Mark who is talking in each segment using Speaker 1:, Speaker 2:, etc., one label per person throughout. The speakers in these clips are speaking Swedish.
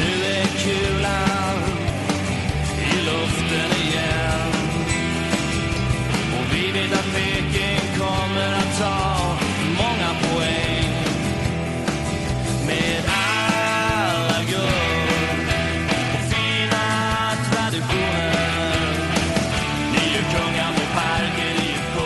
Speaker 1: Nu är kulan i luften igen Och vi vet att Peking kommer att ta många poäng Med alla guld och fina traditioner Ni är kungar på parken IFK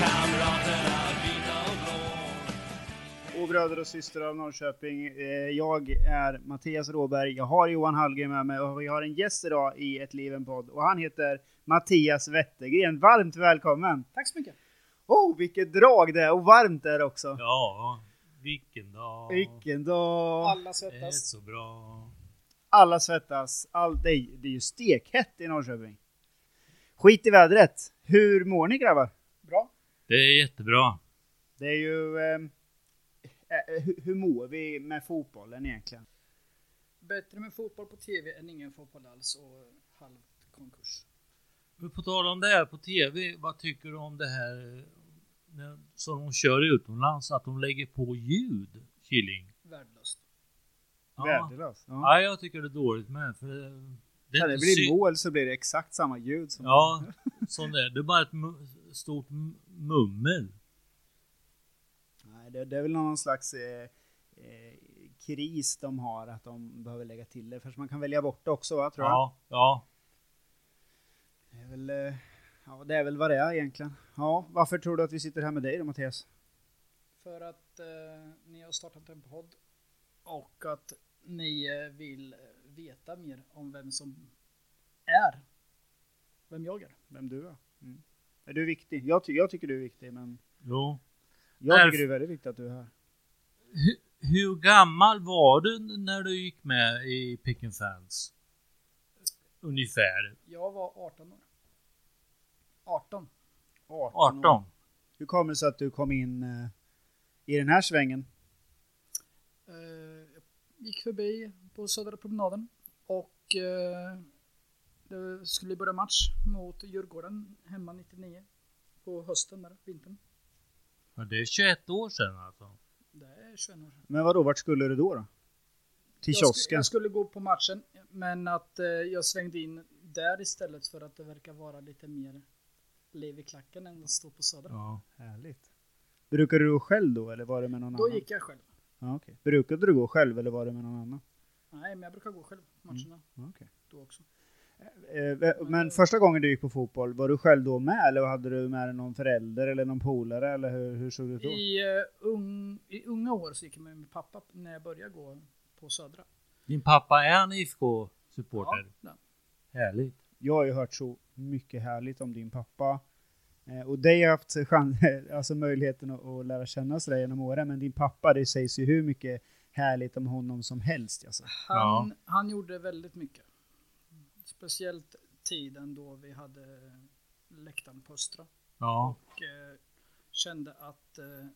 Speaker 1: Kamraterna vita och blå
Speaker 2: och bröder och systrar av Norrköping. Eh, Jag är Mattias Råberg, jag har Johan Hallgren med mig och vi har en gäst idag i Ett liv en podd och han heter Mattias Wettergren. Varmt välkommen!
Speaker 3: Tack så mycket.
Speaker 2: Oh, vilket drag det är och varmt det är också.
Speaker 4: Ja, vilken dag.
Speaker 2: Vilken dag!
Speaker 3: Alla
Speaker 4: Det är
Speaker 3: svettas.
Speaker 4: så bra.
Speaker 2: Alla svettas. All, det, är, det är ju stekhett i Norrköping. Skit i vädret. Hur mår ni grabbar?
Speaker 3: Bra.
Speaker 4: Det är jättebra.
Speaker 2: Det är ju... ehm, Eh, hur, hur mår vi med fotbollen egentligen?
Speaker 3: Bättre med fotboll på TV än ingen fotboll alls och halv konkurs.
Speaker 4: Men på tal om det här på TV, vad tycker du om det här eh, när- som de kör utomlands, att de lägger på ljud, Killing?
Speaker 3: Värdelöst.
Speaker 4: Ja.
Speaker 2: Värdelöst. Ja.
Speaker 4: ja, jag tycker det är dåligt med. För det, det
Speaker 2: När
Speaker 4: är
Speaker 2: det
Speaker 4: inte
Speaker 2: blir
Speaker 4: sy-
Speaker 2: mål så blir det exakt samma ljud som
Speaker 4: Ja, sån där. Det är bara ett mu- stort m- mummel.
Speaker 2: Nej, det, det är väl någon slags eh, eh, kris de har, att de behöver lägga till det. Först man kan välja bort det också, va, tror jag.
Speaker 4: Ja, ja.
Speaker 2: Det är, väl, eh, ja, det är väl vad det är egentligen. Ja, varför tror du att vi sitter här med dig då, Mattias?
Speaker 3: För att eh, ni har startat en podd och att ni eh, vill eh, veta mer om vem som är vem jag är.
Speaker 2: Vem du är? Mm. Är du viktig? Jag, ty- jag tycker du är viktig, men
Speaker 4: Jo.
Speaker 2: jag
Speaker 4: Därför-
Speaker 2: tycker det är väldigt viktigt att du är här.
Speaker 4: Hu- hur gammal var du n- när du gick med i Pick and Fans? Ungefär.
Speaker 3: Jag var 18 år. 18.
Speaker 2: 18.
Speaker 4: 18?
Speaker 2: Hur kommer det sig att du kom in eh, i den här svängen?
Speaker 3: Eh, jag gick förbi på Södra promenaden och eh, det skulle börja match mot Djurgården hemma 99 på hösten där, vintern.
Speaker 4: Ja, det är 21 år sedan alltså.
Speaker 3: Det är 21 år sedan.
Speaker 2: Men vadå, vart skulle du då? då? Till
Speaker 3: Jag, sku-
Speaker 2: kiosken?
Speaker 3: jag skulle gå på matchen men att eh, jag svängde in där istället för att det verkar vara lite mer liv i klacken än att stå på Södra.
Speaker 4: Ja.
Speaker 2: Härligt. Brukade du gå själv då, eller var det med någon
Speaker 3: Då
Speaker 2: annan?
Speaker 3: gick jag själv.
Speaker 2: Ja, okej. Brukade du gå själv, eller var det med någon annan?
Speaker 3: Nej, men jag brukar gå själv på matcherna
Speaker 2: Okej.
Speaker 3: då också.
Speaker 2: Eh, vä- Men första gången du gick på fotboll, var du själv då med eller hade du med dig någon förälder eller någon polare eller hur, hur såg det ut då?
Speaker 3: I, eh, ung, I unga år så gick jag med min pappa när jag började gå på Södra.
Speaker 4: Din pappa är en IFK-supporter?
Speaker 3: Ja,
Speaker 4: Härligt.
Speaker 2: Jag har ju hört så mycket härligt om din pappa. Eh, Och dig har jag haft chans, alltså möjligheten att, att lära känna sådär genom åren, men din pappa, det sägs ju hur mycket härligt om honom som helst. Alltså.
Speaker 3: Han, han gjorde väldigt mycket. Speciellt tiden då vi hade läktaren på Östra.
Speaker 4: Ja.
Speaker 3: Och eh, kände att eh,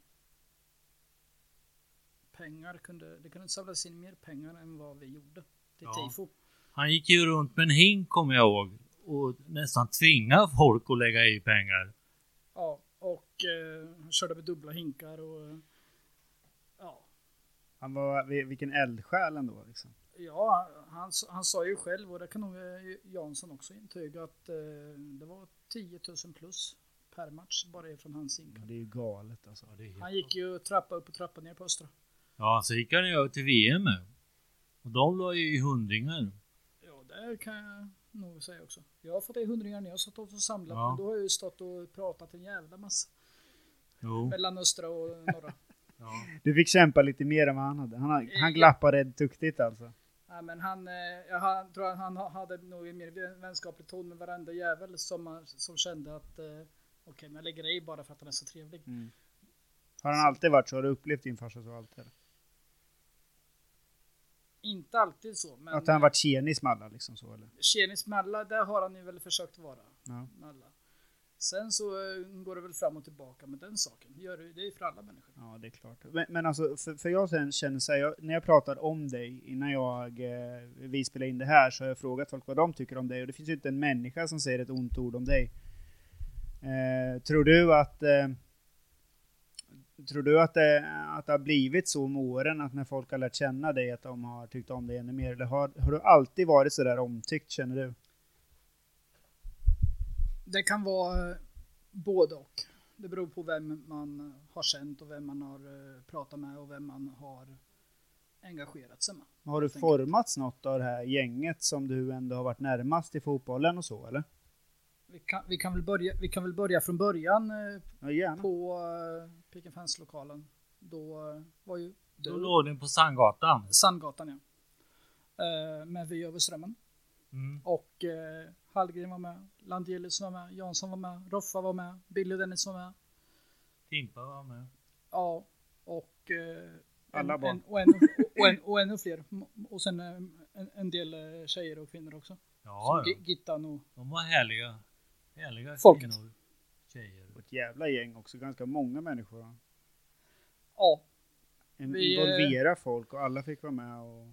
Speaker 3: pengar kunde, det kunde samlas in mer pengar än vad vi gjorde till
Speaker 4: Ja.
Speaker 3: tifo.
Speaker 4: Han gick ju runt med en hink kommer jag ihåg och nästan tvingade folk att lägga i pengar.
Speaker 3: Ja, och eh, han körde med dubbla hinkar och eh, ja,
Speaker 2: Han var, vil- vilken eldsjäl ändå. Liksom.
Speaker 3: ja han, s- han sa ju själv och det kan nog eh, Jansson också intyga att eh, det var 10 000 plus per match bara ifrån hans hinkar.
Speaker 2: Ja, Det är ju galet alltså.
Speaker 4: Ja, det är...
Speaker 3: Han gick ju trappa upp och trappa ner på Östra.
Speaker 4: ja så gick han ju över till VM med. Och de la ju i hundringar.
Speaker 3: Ja, det kan jag nog säga också. Jag har fått i hundringar när jag har stått och samlat.
Speaker 4: Ja.
Speaker 3: Men då har jag ju stått och pratat en jävla massa.
Speaker 4: Jo.
Speaker 3: Mellan Östra och Norra.
Speaker 4: Ja.
Speaker 2: Du fick kämpa lite mer än vad han hade. Han, har- han
Speaker 3: Eh, Ja.
Speaker 2: glappade duktigt alltså.
Speaker 3: Nej, men han, eh, jag han- tror att han ha- hade nog en mer vän- vänskaplig ton med varenda jävel som, man- som kände att eh, okej, men jag lägger i bara för att han är så trevlig.
Speaker 2: Har han alltid varit så? Har du upplevt din farsa så alltid? eller?
Speaker 3: Inte alltid så, men...
Speaker 2: Att han varit tjenis med alla liksom så eller?
Speaker 3: Tjenis med alla, där har han ju väl försökt vara.
Speaker 2: Ja.
Speaker 3: Med alla. Sen så eh, går det väl fram och tillbaka med den saken. Gör det, det är ju för alla människor.
Speaker 2: Ja, det är klart. Men, men alltså, för, för jag sen känner så här, jag, när jag pratar om dig innan jag, eh, vi spelar in det här så har jag frågat folk vad de tycker om dig och det finns ju inte en människa som säger ett ont ord om dig. Eh, tror du att eh, Tror du att det, att det har blivit så med åren att när folk har lärt känna dig att de har tyckt om dig ännu mer? Eller har, har du alltid varit så där omtyckt känner du?
Speaker 3: Det kan vara eh, både och. Det beror på vem man har känt och vem man har eh, pratat med och vem man har engagerat sig med.
Speaker 2: Har du
Speaker 3: Helt enkelt.
Speaker 2: formats något av det här gänget som du ändå har varit närmast i fotbollen och så eller?
Speaker 3: Vi kan, vi kan, väl, börja, vi kan väl börja från början eh,
Speaker 2: Ja, gärna.
Speaker 3: på eh, Pick and Fans-lokalen. Då eh, var ju
Speaker 4: Då
Speaker 3: du,
Speaker 4: låg ni på Sandgatan.
Speaker 3: Sandgatan ja. Eh, med vy över strömmen.
Speaker 4: Mm.
Speaker 3: Och eh, Hallgren var med, Landelius var med, Jansson var med, Roffa var med, Billy och Dennis var med.
Speaker 4: Timpa var med.
Speaker 3: Ja, och... Eh,
Speaker 2: Alla
Speaker 3: en,
Speaker 2: barn.
Speaker 3: En, och, en, och, en, och ännu fler. M- Och sen eh, en, en del eh, tjejer och kvinnor också.
Speaker 4: Ja,
Speaker 3: Som
Speaker 4: ja.
Speaker 3: Gi- Gittan och...
Speaker 4: de var härliga. Härliga
Speaker 3: Folket.
Speaker 4: kvinnor. Tjejer.
Speaker 2: Och ett jävla gäng också, ganska många människor.
Speaker 3: Ja,
Speaker 2: En,
Speaker 3: Vi, eh,
Speaker 2: involvera folk och alla fick vara med. Och,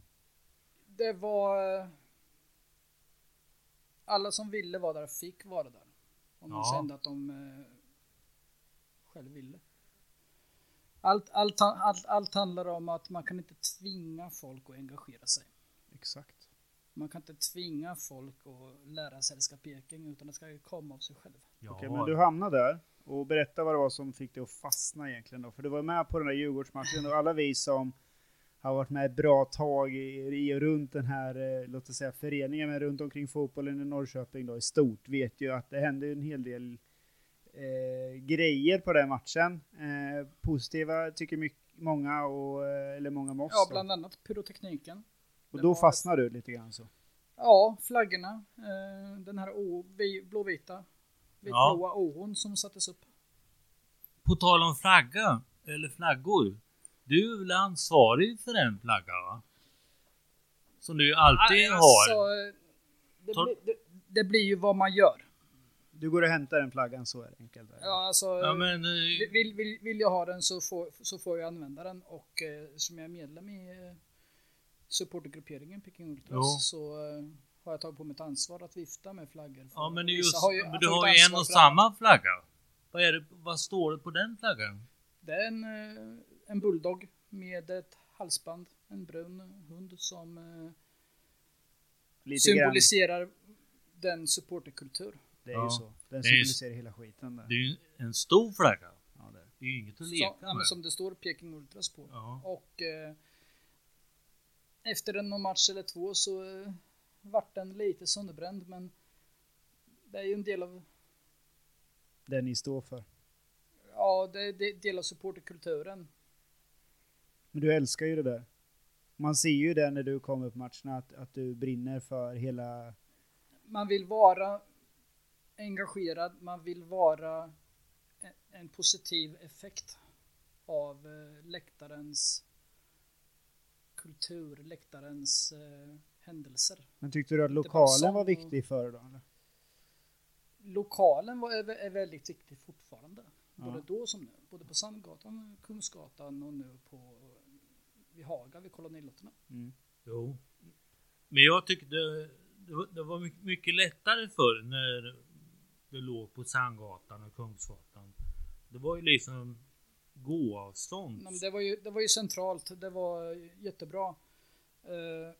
Speaker 3: det var... eh, Alla som ville vara där fick vara där. Om de
Speaker 4: Ja.
Speaker 3: kände att de eh, själv ville. Allt, allt, han- allt, allt handlar om att man kan inte tvinga folk att engagera sig.
Speaker 2: exakt.
Speaker 3: Man kan inte tvinga folk att lära sig älska Peking utan det ska ju komma av sig själv.
Speaker 4: Ja,
Speaker 2: Okej, men du hamnade där och berätta vad det var som fick dig att fastna egentligen då. För du var med på den där Djurgårdsmatchen och alla vi som har varit med ett bra tag i, i och runt den här, eh, låt oss säga föreningen, men runt omkring fotbollen i Norrköping då i stort vet ju att det hände ju en hel del eh, grejer på den matchen. Eh, positiva tycker mycket, många, och, eh, eller många med oss.
Speaker 3: Ja,
Speaker 2: då.
Speaker 3: bland annat pyrotekniken.
Speaker 2: och
Speaker 3: det
Speaker 2: då
Speaker 3: var-
Speaker 2: fastnar du lite grann så.
Speaker 3: Ja, flaggorna. Eh, Den här å- vi- blåvita, vitblåa ån som sattes upp.
Speaker 4: På tal om flagga, eller flaggor. Du är väl ansvarig för en flagga va? Som du alltid har.
Speaker 3: eh, det,
Speaker 4: Tar-
Speaker 3: blir- det, det blir ju vad man gör.
Speaker 2: Du går och hämtar den flaggan, så är det enkelt. är det.
Speaker 3: Ja, alltså,
Speaker 4: Ja, men, eh,
Speaker 3: vill, vill, vill jag ha den så får, så får jag använda den och eh, som jag är medlem i eh, supportergrupperingen Peking Ultras
Speaker 4: Jo.
Speaker 3: så eh, har jag tagit på mitt ansvar att vifta med flaggor.
Speaker 4: ja, men, det är
Speaker 3: Vissa
Speaker 4: just,
Speaker 3: har ju-
Speaker 4: men du
Speaker 3: får
Speaker 4: har
Speaker 3: ett
Speaker 4: ju en
Speaker 3: ansvar
Speaker 4: och
Speaker 3: för
Speaker 4: samma flagga. Vad, är det, vad står det på den flaggan?
Speaker 3: Det är en, eh, en bulldog med ett halsband, en brun hund som eh,
Speaker 2: Lite grann.
Speaker 3: symboliserar den supporterkultur.
Speaker 2: Det är
Speaker 4: Ja.
Speaker 2: ju så. Den
Speaker 4: Det är ju-
Speaker 2: symboliserar hela skiten där.
Speaker 4: Det är ju en stor flagga.
Speaker 2: Ja, det är. det.
Speaker 4: Det är ju inget att
Speaker 3: Som,
Speaker 4: leka med.
Speaker 3: som det står Peking Ultras på.
Speaker 4: Ja.
Speaker 3: Och eh, efter en någon match eller två så eh, vart den lite sönderbränd men det är ju en del av,
Speaker 2: Det ni står för.
Speaker 3: ja, det är det är del av supporterkulturen.
Speaker 2: Men du älskar ju det där. Man ser ju det när du kommer på matcherna, att, att du brinner för hela...
Speaker 3: man vill vara engagerad, man vill vara en, en positiv effekt av eh, läktarens kultur, läktarens eh, händelser.
Speaker 2: Men tyckte du att
Speaker 3: Inte bara
Speaker 2: lokalen
Speaker 3: sång
Speaker 2: var
Speaker 3: och-
Speaker 2: viktig för dig? eller?
Speaker 3: Lokalen var, är, vä- är väldigt viktig fortfarande, både
Speaker 2: Ja.
Speaker 3: då som nu, både på Sandgatan, Kungsgatan och nu på eh, vid Haga, vid kolonilotterna.
Speaker 4: Jo. Men jag tyckte det, det var- det var mycket, mycket lättare förr när det låg på Sandgatan och Kungsgatan. Det var ju liksom gåavstånd.
Speaker 3: Nej, men Det var, ju, det var ju centralt, det var jättebra. Eh,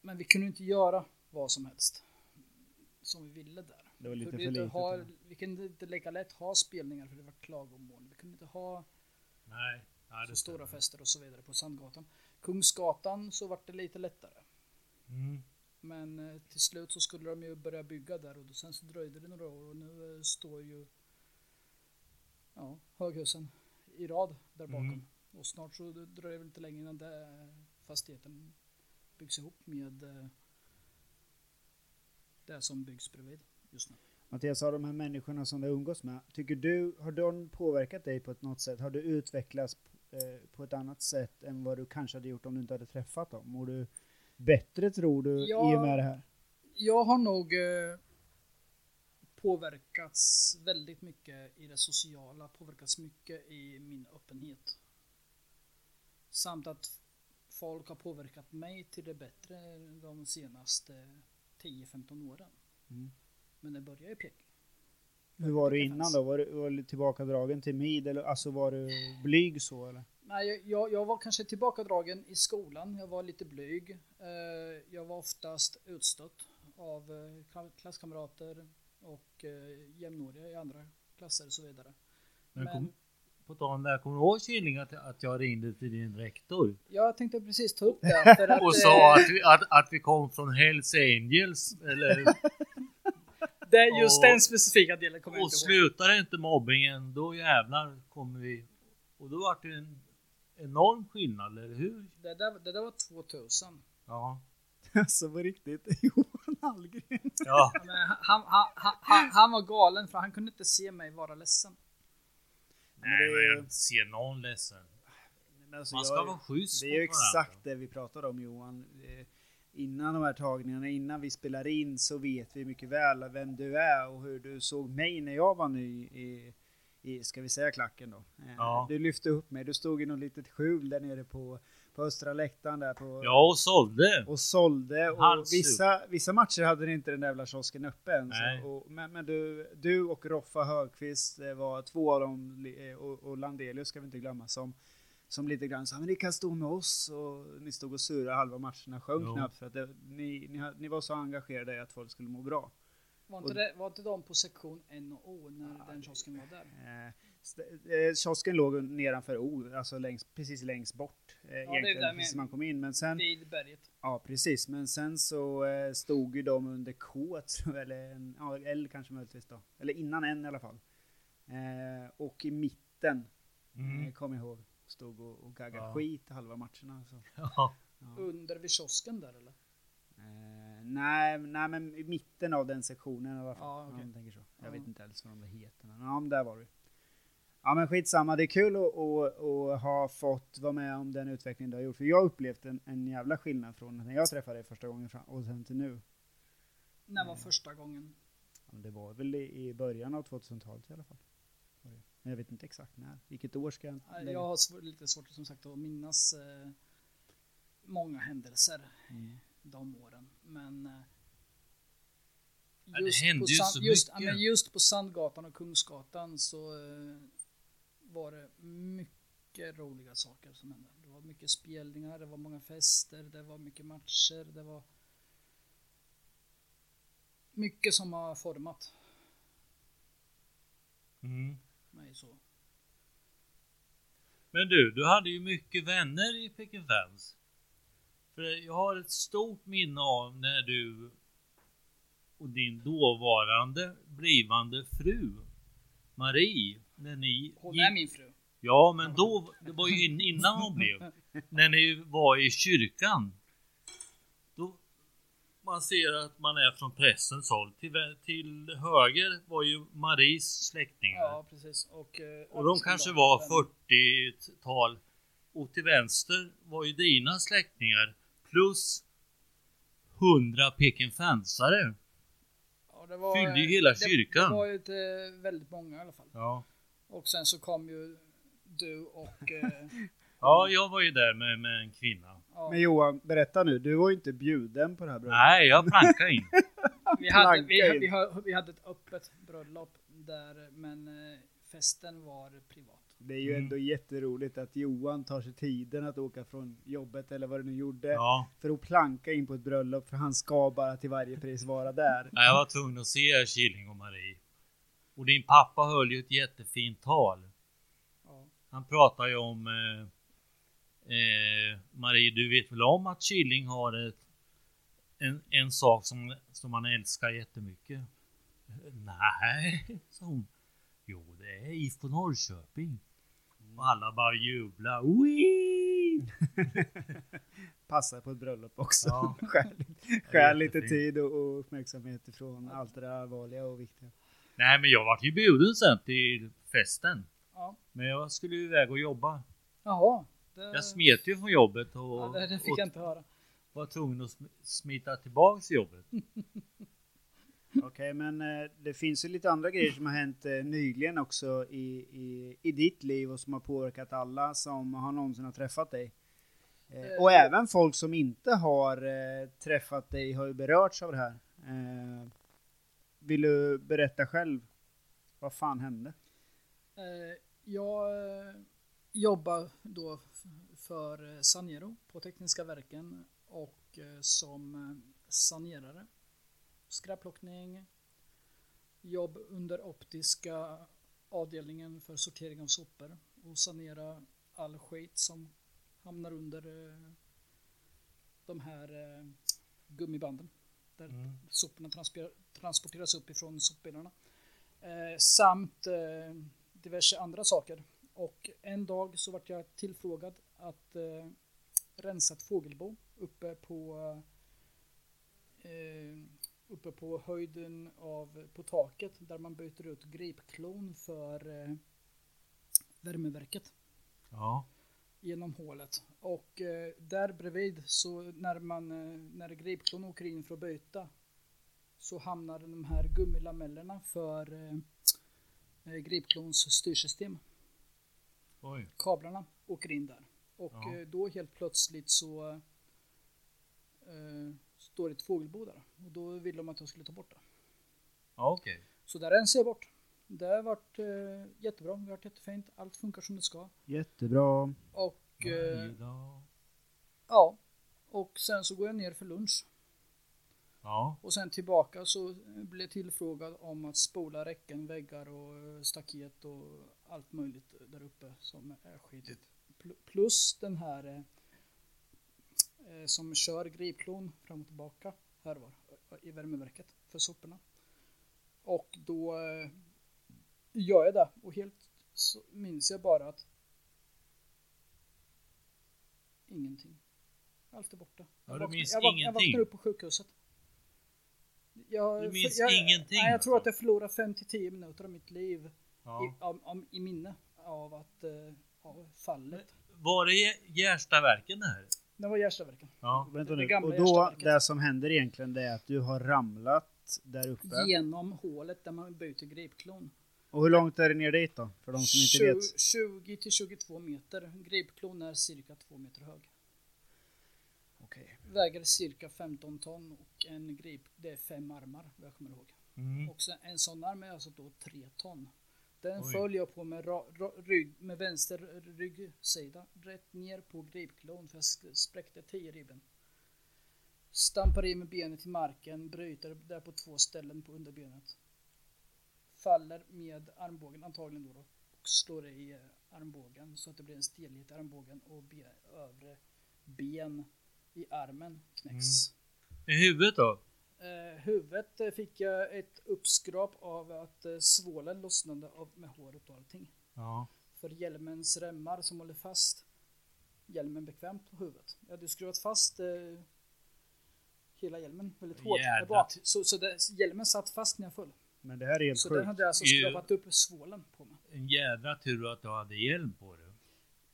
Speaker 3: Men vi kunde inte göra vad som helst som vi ville där.
Speaker 2: Det var
Speaker 3: Vi
Speaker 2: lite
Speaker 3: kunde,
Speaker 2: för
Speaker 3: inte
Speaker 2: litet.
Speaker 3: ha,
Speaker 2: eller?
Speaker 3: vi kunde inte lika lätt ha spelningar för det var klagomål. Vi kunde inte ha
Speaker 4: Nej, nej
Speaker 3: så
Speaker 4: det
Speaker 3: stora
Speaker 4: stora
Speaker 3: fester och så vidare på Sandgatan. Kungsgatan så var det lite lättare.
Speaker 4: mm.
Speaker 3: Men eh, till slut så skulle de ju börja bygga där och då, sen så dröjde det några år och nu eh, står ju ja, höghusen i rad där bakom.
Speaker 4: Mm.
Speaker 3: Och snart så dröjer det väl inte länge innan det eh, fastigheten byggs ihop med eh, det som byggs bredvid just nu.
Speaker 2: Mattias, har de här människorna som du umgås med, tycker du, har de påverkat dig på ett något sätt? Har du utvecklats eh, på ett annat sätt än vad du kanske hade gjort om du inte hade träffat dem? Mår du bättre tror du
Speaker 3: Ja.
Speaker 2: i och med det här?
Speaker 3: Jag har nog eh, påverkats väldigt mycket i det sociala, påverkats mycket i min öppenhet. Samt att folk har påverkat mig till det bättre de senaste 10-15 åren.
Speaker 2: Mm.
Speaker 3: Men det börjar i pek.
Speaker 2: Hur var du
Speaker 3: Det
Speaker 2: innan
Speaker 3: fanns.
Speaker 2: då? Var du, var du tillbakadragen till mid eller alltså var du blyg så eller?
Speaker 3: Nej, jag- jag, jag var kanske tillbakadragen i skolan. Jag var lite blyg. Eh, Jag var oftast utstött av eh, kla- klasskamrater och eh, jämnåriga i andra klasser och så vidare.
Speaker 4: Men
Speaker 3: Men-
Speaker 4: kom, på tal om det här, kommer du ihåg Killing att, att jag ringde till din rektor?
Speaker 3: Jag tänkte precis ta upp det. För att,
Speaker 4: Och sa
Speaker 3: eh,
Speaker 4: att vi, att, att vi kom från Hells Angels. Eller,
Speaker 3: det är just
Speaker 4: och-
Speaker 3: den specifika delen kommer jag
Speaker 4: och
Speaker 3: inte ihåg.
Speaker 4: slutar inte mobbningen, då jävlar kommer vi. Och då var det en enorm skillnad, eller hur?
Speaker 3: Det där, det där var 2000.
Speaker 4: Ja.
Speaker 2: Alltså på riktigt, Johan Hallgren.
Speaker 4: ja.
Speaker 3: Men han, han, han, han, han var galen för han kunde inte se mig vara ledsen.
Speaker 4: Nej,
Speaker 2: det-
Speaker 4: men jag ser någon ledsen. Man ska vara schysst
Speaker 2: Det alltså, är ju
Speaker 4: mot varandra.
Speaker 2: exakt det vi pratade om Johan. Eh, Innan de här tagningarna, innan vi spelar in så vet vi mycket väl vem du är och hur du såg mig när jag var ny i, i ska vi säga klacken då. Eh,
Speaker 4: Ja.
Speaker 2: Du lyfte upp mig, du stod i något litet skjul där nere på, på östra läktaren där på,
Speaker 4: Ja, och sålde.
Speaker 2: och sålde. Och
Speaker 4: Halsduk.
Speaker 2: vissa, vissa matcher hade ni inte den där jävla kiosken uppe än.
Speaker 4: Nej.
Speaker 2: Så, och, men men du, du och Roffa Högqvist eh, var två av dem, eh, och, och Landelius ska vi inte glömma, som, som lite grann sa men ni kan stå med oss. Och ni stod och surrade halva matcherna, sjöng
Speaker 4: Jo.
Speaker 2: knappt för att det, ni, ni, ha- ni var så engagerade i att folk skulle må bra.
Speaker 3: Var inte, det, var inte de på sektion N och O när den kiosken var där?
Speaker 2: Eh, st- eh, kiosken låg nedanför O, alltså längst, precis längst bort eh,
Speaker 3: är där
Speaker 2: egentligen, precis
Speaker 3: med-
Speaker 2: när man kom in. Men sen,
Speaker 3: Vid berget.
Speaker 2: Ja, precis. Men sen så eh, stod ju de under K, tror jag, eller en, ja, L kanske möjligtvis då. Eller innan N i alla fall. Eh, och i mitten, eh,
Speaker 4: Mm.
Speaker 2: kom jag ihåg, stod och, och gaggade
Speaker 4: Ja.
Speaker 2: skit halva matcherna. alltså. Så.
Speaker 4: Ja.
Speaker 3: Under vid kiosken där eller?
Speaker 2: Eh, nej, nej, men i mitten av den sektionen i alla fall.
Speaker 3: Ja,
Speaker 2: om
Speaker 3: okej.
Speaker 2: man tänker så. Jag
Speaker 3: Ja.
Speaker 2: vet inte alls vad de där heter. Men ja, men där var du. Ja, men skitsamma. Det är kul att, att, att ha fått vara med om den utveckling du har gjort. För jag har upplevt en, en jävla skillnad från när jag träffade dig första gången fram, och sen till nu.
Speaker 3: När
Speaker 4: Mm.
Speaker 3: var första gången?
Speaker 2: Ja, men Det var väl i i början av 2000-talet i alla fall. Var det. Men jag vet inte exakt när. Vilket år ska jag inte lägga-
Speaker 3: Jag har sv- lite svårt som sagt att minnas eh, många händelser
Speaker 2: Mm.
Speaker 3: de åren. Men eh,
Speaker 4: Ja, det hände
Speaker 3: på
Speaker 4: ju
Speaker 3: Sand-
Speaker 4: så
Speaker 3: just, ja,
Speaker 4: mycket.
Speaker 3: men just på Sandgatan och Kungsgatan så eh, var det mycket roliga saker som hände. Det var mycket spelningar, det var många fester, det var mycket matcher, det var mycket som har format
Speaker 4: Mm.
Speaker 3: mig så.
Speaker 4: Men du, du hade ju mycket vänner i Peking Fans. För jag har ett stort minne av när du och din dåvarande blivande fru Marie, när ni...
Speaker 3: Hon
Speaker 4: gick-
Speaker 3: är min fru.
Speaker 4: Ja, men då, det var ju in- innan hon blev. När ni var i kyrkan. Då man ser att man är från prästens håll. Till, vä- till höger var ju Maries släktingar.
Speaker 3: Ja, precis. Och, eh,
Speaker 4: Och de kanske var 40-tal. Och till vänster var ju dina släktingar plus 100 Pekinfansare.
Speaker 3: Ja, det var, eh,
Speaker 4: fyllde ju hela
Speaker 3: det,
Speaker 4: kyrkan.
Speaker 3: Det var ju ett, eh, väldigt många i alla fall.
Speaker 4: Ja.
Speaker 3: Och sen så kom ju du och... Eh,
Speaker 4: ja, jag var ju där med, med en kvinna.
Speaker 3: ja,
Speaker 2: Men Johan, berätta nu. Du var ju inte bjuden på det här bröllopet.
Speaker 4: Nej, jag plankade in.
Speaker 3: vi, hade,
Speaker 2: planka
Speaker 3: vi,
Speaker 2: in.
Speaker 3: vi, hade, vi hade ett öppet bröllop där, men eh, festen var privat.
Speaker 2: Det är ju
Speaker 4: Mm.
Speaker 2: ändå jätteroligt att Johan tar sig tiden att åka från jobbet eller vad du nu gjorde.
Speaker 4: Ja.
Speaker 2: För att planka in på ett bröllop för han ska bara till varje pris vara där.
Speaker 4: Nej, jag var tvungen att se Killing och Marie. Och din pappa höll ju ett jättefint tal.
Speaker 3: Ja.
Speaker 4: Han pratar ju om eh, eh, Marie, du vet väl om att Killing har ett, en, en sak som, som han älskar jättemycket? Nej, sa hon. Jo, det är IFK Norrköping. Och alla bara jublar. Wee!
Speaker 2: Passar på ett bröllop också.
Speaker 4: Ja.
Speaker 2: Skär, skär lite
Speaker 4: jättefint.
Speaker 2: tid och, och uppmärksamhet ifrån allt det där allvarliga och viktiga.
Speaker 4: Nej, men jag vart ju bjuden sen till festen.
Speaker 3: Ja.
Speaker 4: Men jag skulle ju iväg och jobba.
Speaker 3: Jaha. Det,
Speaker 4: Jag smet ju från jobbet och,
Speaker 3: ja, det, det fick
Speaker 4: och
Speaker 3: jag inte höra.
Speaker 4: var tvungen att sm- smita tillbaks till jobbet.
Speaker 2: Okej, men eh, det finns ju lite andra grejer som har hänt eh, nyligen också i, i, i ditt liv och som har påverkat alla som har någonsin har träffat dig. Eh, och
Speaker 3: Eh.
Speaker 2: även folk som inte har eh, träffat dig har ju berörts av det här. Eh, vill du berätta själv? Vad fan hände?
Speaker 3: Eh, Jag eh, jobbar då f- för eh, Sanero på Tekniska verken och eh, som eh, sanerare. Skräpplockning, jobb under optiska avdelningen för sortering av sopor och sanera all skit som hamnar under eh, de här eh, gummibanden där soporna transpir- transporteras upp ifrån sopbilarna. Eh, samt eh, diverse andra saker. Och en dag så vart jag tillfrågad att eh, rensa ett fågelbo uppe på eh, uppe på höjden av på taket där man byter ut gripklon för eh, värmeverket
Speaker 4: Ja.
Speaker 3: genom hålet. Och eh, där bredvid så när man eh, när gripklon åker in för att byta så hamnar de här gummilamellerna för eh, eh, gripklons styrsystem
Speaker 4: Oj.
Speaker 3: kablarna åker in där. Och
Speaker 4: Ja.
Speaker 3: eh, då helt plötsligt så eh, står det ett fågelbo där. Och då ville de att jag skulle ta bort det.
Speaker 4: Ja, okej.
Speaker 3: Så där rensade jag bort. Det har varit eh, jättebra, det har varit jättefint, allt funkar som det ska.
Speaker 2: Jättebra.
Speaker 3: Och eh,
Speaker 4: Varje dag.
Speaker 3: ja, och sen så går jag ner för lunch.
Speaker 4: Ja.
Speaker 3: Och sen tillbaka så blev jag tillfrågad om att spola räcken, väggar och eh, staket och allt möjligt där uppe som är skitigt. Pl- Plus den här eh, eh, som kör gripklon fram och tillbaka här var eh, i värmeverket för soporna. Och då eh, gör jag det och helt så minns jag bara att ingenting. Allt är borta.
Speaker 4: Ja,
Speaker 3: Jag
Speaker 4: du
Speaker 3: vaknar-
Speaker 4: minns
Speaker 3: jag, vak- jag
Speaker 4: ingenting.
Speaker 3: vaknar upp på sjukhuset. Jag,
Speaker 4: Du minns
Speaker 3: jag,
Speaker 4: ingenting,
Speaker 3: Nej, jag tror att
Speaker 4: alltså?
Speaker 3: jag förlorar 5 till 10 minuter av mitt liv
Speaker 4: ja.
Speaker 3: i, om, om, i minne av att eh, av fallet.
Speaker 4: Var det Gä- Gärstaverken det här?
Speaker 3: Det var Gärstaverken.
Speaker 4: Ja.
Speaker 2: Vänta
Speaker 3: Det
Speaker 2: nu.
Speaker 3: gamla
Speaker 2: Och då,
Speaker 3: Gärstaverket.
Speaker 2: det som händer egentligen det är att du har ramlat där uppe.
Speaker 3: Genom hålet där man byter gripklon.
Speaker 2: Och hur långt är det ner dit då? För de som inte vet.
Speaker 3: 20 till 22 meter. Gripklon är cirka 2 meter hög.
Speaker 2: Okej.
Speaker 3: Väger cirka 15 ton och en grip, det är fem armar vad jag kommer ihåg.
Speaker 4: Mm.
Speaker 3: Och sen, en sån arm är alltså då 3 ton. Den
Speaker 4: Oj.
Speaker 3: följer jag på med, ra, ra, rygg, med vänster ryggsida rätt ner på gripklon för jag sk- spräckte tieribben. Stampar i med benet i marken, bryter där på två ställen på underbenet. Faller med armbågen antagligen då, då och slår i eh, armbågen så att det blir en stelhet i armbågen och be, övre ben i armen
Speaker 4: Mm.
Speaker 3: knäcks.
Speaker 4: I huvudet då?
Speaker 3: Eh, huvudet eh, fick jag ett uppskrap av att eh, svålen lossnade av, med håret och allting.
Speaker 4: Ja.
Speaker 3: För hjälmens remmar som håller fast hjälmen bekvämt på huvudet. Jag hade skruvat fast eh, hela hjälmen väldigt hårt. där
Speaker 4: Jävlar.
Speaker 3: Bak. Så, så det, hjälmen satt fast när jag föll.
Speaker 2: Men det här är helt
Speaker 3: Så den
Speaker 2: sjukt.
Speaker 3: hade jag alltså
Speaker 4: Ju.
Speaker 3: skrapat upp svålen på mig.
Speaker 4: En jävla tur att du hade hjälm på dig.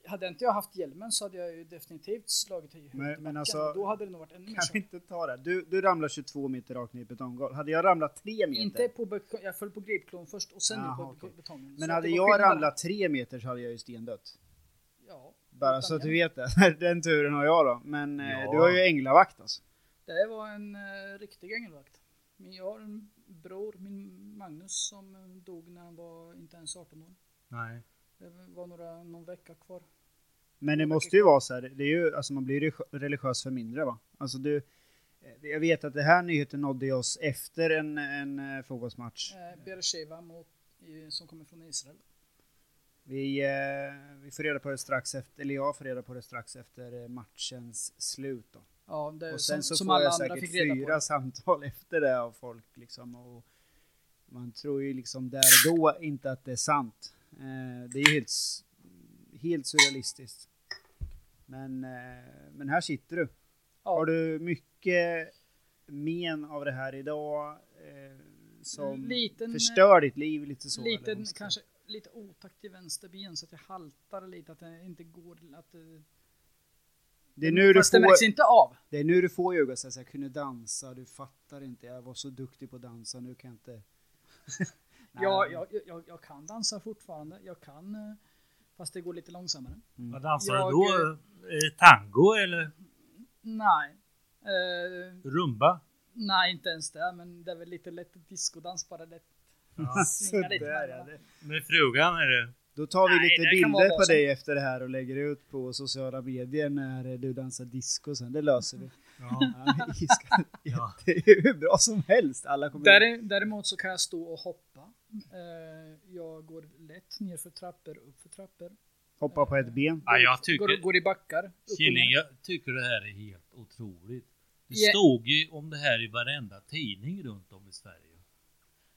Speaker 3: Hade inte jag haft hjälmen så hade jag ju definitivt slagit i huvudet
Speaker 2: Men-
Speaker 3: i
Speaker 2: men
Speaker 3: backen.
Speaker 2: alltså-
Speaker 3: Då hade det nog varit ännu mer
Speaker 2: Kan vi
Speaker 3: så.
Speaker 2: inte ta det? Du, du ramlar 22 meter rakt ner i betonggolv. Hade jag ramlat 3 meter?
Speaker 3: Inte på beton, jag föll på gripklon först och sen
Speaker 2: Jaha,
Speaker 3: på
Speaker 2: okej.
Speaker 3: betongen. Så
Speaker 2: Men
Speaker 3: att
Speaker 2: hade
Speaker 3: det var
Speaker 2: jag
Speaker 3: skillnad.
Speaker 2: ramlat 3 meter så hade jag ju stendött.
Speaker 3: Ja,
Speaker 2: Bara
Speaker 3: utan
Speaker 2: så att
Speaker 3: hjälm.
Speaker 2: du vet det. Den turen har jag då. Men eh,
Speaker 4: Ja.
Speaker 2: du har ju änglavakt alltså.
Speaker 3: Det var en eh, riktig ängelvakt. Men jag har en bror, min Magnus, som eh, dog när han var inte ens 18 år.
Speaker 4: Nej.
Speaker 3: Det var några, någon vecka kvar.
Speaker 2: Men det måste ju vara så här. Det är ju, alltså man blir ju religiös för mindre va? Alltså du. eh, Jag vet att det här nyheten nådde oss efter en, en eh, fotbollsmatch.
Speaker 3: Eh, Beersheva mot, i- som kommer från Israel.
Speaker 2: Vi, eh, vi får reda på det strax efter, eller jag får reda på det strax efter eh, matchens slut då.
Speaker 3: Ja, det,
Speaker 2: Och sen
Speaker 3: som,
Speaker 2: så
Speaker 3: som
Speaker 2: får
Speaker 3: alla
Speaker 2: jag
Speaker 3: andra
Speaker 2: säkert
Speaker 3: fick reda
Speaker 2: fyra
Speaker 3: på.
Speaker 2: samtal efter det av folk liksom. Och man tror ju liksom där och då inte att det är sant. Eh, det är ju helt, s- helt surrealistiskt. Men, eh, men här sitter du.
Speaker 3: Ja.
Speaker 2: Har du mycket men av det här idag eh, som
Speaker 3: Liten-
Speaker 2: förstör ditt liv lite så? eller
Speaker 3: Liten
Speaker 2: måste-
Speaker 3: kanske lite otakt i vänsterben så att jag haltar lite, att det inte går att... eh,
Speaker 2: Det är nu du
Speaker 3: Fast det märks
Speaker 2: får,
Speaker 3: inte av.
Speaker 2: det är nu du får ljuga och säga så här, jag kunde dansa, du fattar inte, jag var så duktig på att dansa, nu kan jag inte. Nej.
Speaker 3: Jag, jag, jag, jag kan dansa fortfarande, jag kan, eh, fast det går lite långsammare.
Speaker 4: Vad dansar
Speaker 3: Jag,
Speaker 4: du då? Eh, Tango eller
Speaker 3: Nej. Eh,
Speaker 4: rumba?
Speaker 3: nej, inte ens det, men det är väl lite lätt discodans bara lätt.
Speaker 2: Så
Speaker 3: svinga lite
Speaker 2: där,
Speaker 3: med
Speaker 2: ja,
Speaker 3: den.
Speaker 2: det-
Speaker 4: Med frugan är det.
Speaker 2: Då tar vi
Speaker 3: Nej,
Speaker 2: lite
Speaker 3: det kan vara
Speaker 2: bilder på
Speaker 3: vad som-
Speaker 2: dig efter det här och lägger ut på sociala medier när du dansar disco sen. Det löser vi.
Speaker 4: Ja.
Speaker 2: Ja, vi ska-
Speaker 4: Ja.
Speaker 2: Det är hur bra som helst. Alla kommer
Speaker 3: Däre- Däremot så kan jag stå och hoppa. Eh, jag går lätt ner för trappor, upp för trappor.
Speaker 2: hoppa på ett ben.
Speaker 4: Ja, jag
Speaker 3: Går,
Speaker 4: tycker,
Speaker 3: går i backar. upp och
Speaker 4: Killing,
Speaker 3: ner.
Speaker 4: jag tycker det här är helt otroligt. Det
Speaker 3: Ja.
Speaker 4: stod ju om det här i varenda tidning runt om i Sverige.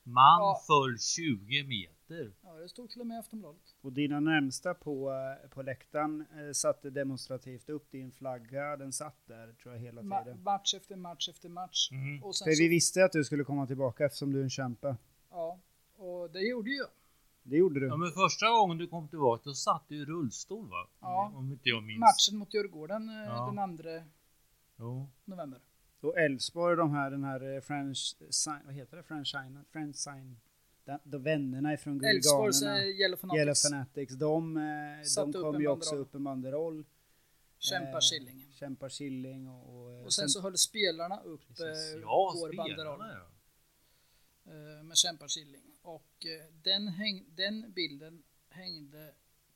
Speaker 4: Man
Speaker 3: Ja.
Speaker 4: föll 20 meter.
Speaker 3: Ja, det stod till och med i Aftonbladet.
Speaker 2: Och dina närmsta på, eh, på läktaren eh, satte demonstrativt upp din flagga. Den satt där tror jag hela
Speaker 3: Ma-
Speaker 2: tiden.
Speaker 3: match efter match efter match.
Speaker 4: Mm.
Speaker 3: Och sen
Speaker 2: För vi
Speaker 3: så,
Speaker 2: visste att du skulle komma tillbaka eftersom du är en kämpe.
Speaker 3: ja, och det gjorde ju jag.
Speaker 2: Det gjorde
Speaker 4: Ja,
Speaker 3: Mm.
Speaker 2: du.
Speaker 4: men första gången du kom tillbaka då satt du i rullstol va?
Speaker 3: Ja.
Speaker 4: Om inte jag minns.
Speaker 3: matchen mot Djurgården eh,
Speaker 4: Ja.
Speaker 3: den 2
Speaker 4: Jo.
Speaker 3: november.
Speaker 2: Och Elfsborg, de här, den här eh, French, sign, vad heter det? French sign, French sign. De, de vännerna ifrån
Speaker 3: Elfsborgs
Speaker 2: Guldganerna.
Speaker 3: eh, Yellow
Speaker 2: Yellow
Speaker 3: Fanatics
Speaker 2: Fanatics, de, eh, de
Speaker 3: Satte upp
Speaker 2: kom
Speaker 3: en
Speaker 2: ju också
Speaker 3: banderoll.
Speaker 2: upp en banderoll.
Speaker 3: kämpar
Speaker 2: Eh,
Speaker 3: Killing.
Speaker 2: Kämpar Killing och... och, eh,
Speaker 3: Och sen så höll spelarna upp
Speaker 2: Precis.
Speaker 3: eh,
Speaker 4: Ja,
Speaker 3: vår banderoll
Speaker 4: spelarna ja.
Speaker 3: eh, med kämpar Killing. Och eh, den, häng, den bilden hängde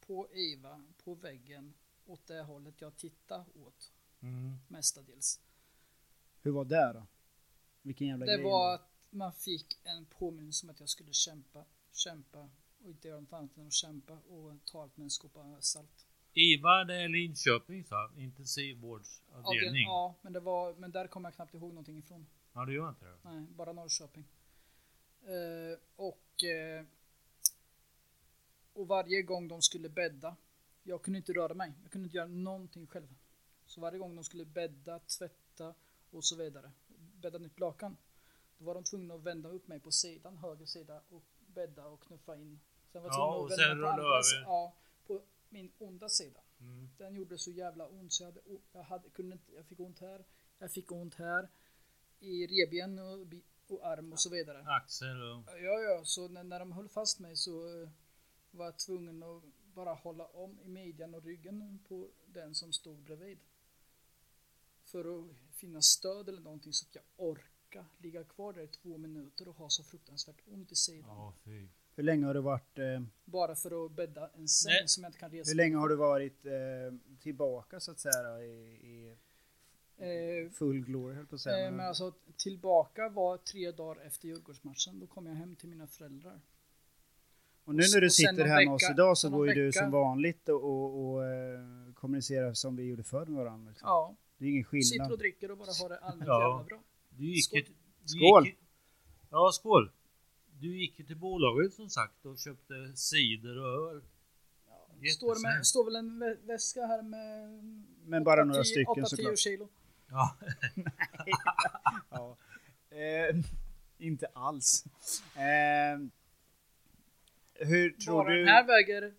Speaker 3: på IVA, på väggen, åt det hållet jag tittade åt
Speaker 4: Mm.
Speaker 3: mestadels.
Speaker 2: Hur var det då? Vilken jävla
Speaker 3: Det
Speaker 2: grej.
Speaker 3: var att man fick en påminnelse om att jag skulle kämpa, kämpa och inte göra något annat än att kämpa och ta allt med en skopa salt.
Speaker 4: IVA det är eh, Linköping sa
Speaker 3: Avdel-
Speaker 4: Intensivvårdsavdelning.
Speaker 3: Ja, men, det var, men där kommer jag knappt ihåg någonting ifrån.
Speaker 4: Ja, det gör inte det.
Speaker 3: Nej, bara Norrköping. Eh, och, eh, och varje gång de skulle bädda, jag kunde inte röra mig, jag kunde inte göra någonting själv. Så varje gång de skulle bädda, tvätta och så vidare, bädda nytt lakan, då var de tvungna att vända upp mig på sidan, höger sida och bädda och knuffa in. Sen var jag
Speaker 4: Ja, och
Speaker 3: tvungen att
Speaker 4: sen
Speaker 3: vända på
Speaker 4: rulla
Speaker 3: andra,
Speaker 4: över.
Speaker 3: si- ja, på min onda sida.
Speaker 4: Mm.
Speaker 3: Den gjorde så jävla ont så jag, hade, o- jag, hade, kunde inte, jag fick ont här, jag fick ont här, i revben och, bi- och arm och så vidare.
Speaker 4: Axel och...
Speaker 3: Ja, ja, så när, när de höll fast mig så eh, var jag tvungen att bara hålla om i midjan och ryggen på den som stod bredvid. För att finna stöd eller någonting så att jag orkar ligga kvar där i två minuter och ha så fruktansvärt ont i sidan.
Speaker 4: Ja, fy.
Speaker 2: Hur länge har du varit, eh,
Speaker 3: Bara för att bädda en säng
Speaker 4: Nej.
Speaker 3: som jag inte kan resa.
Speaker 2: hur länge har du varit eh, tillbaka så att säga då, i,
Speaker 3: Eh,
Speaker 2: i full glory höll på att säga.
Speaker 3: Eh, men
Speaker 2: men-
Speaker 3: alltså tillbaka var tre dagar efter Djurgårdsmatchen. Då kom jag hem till mina föräldrar.
Speaker 2: och nu när du
Speaker 3: och sen
Speaker 2: sitter
Speaker 3: någon
Speaker 2: här med oss
Speaker 3: vecka-
Speaker 2: idag så
Speaker 3: någon
Speaker 2: går ju du
Speaker 3: vecka-
Speaker 2: som vanligt och, och, och eh, kommunicerar som vi gjorde förr med varandra. Liksom.
Speaker 3: Ja,
Speaker 2: Det är ingen
Speaker 3: sitter och
Speaker 2: skillnad.
Speaker 3: dricker och bara har det allmänt
Speaker 4: Ja.
Speaker 3: jävla bra.
Speaker 4: Du gick
Speaker 3: Skål.
Speaker 4: ju- du
Speaker 2: Skål.
Speaker 4: Gick, ju- ja, skål. Du gick ju till bolaget som sagt och köpte cider och öl. Jättesnällt.
Speaker 3: Står, med, står väl en vä- väska här med
Speaker 2: Men bara
Speaker 3: åtta,
Speaker 2: några
Speaker 3: tio-
Speaker 2: stycken
Speaker 3: åtta, tio
Speaker 2: såklart.
Speaker 3: kilo.
Speaker 4: Ja,
Speaker 2: Ja. Eh, inte alls. Eh, hur tror
Speaker 3: bara
Speaker 2: du...
Speaker 3: den här väger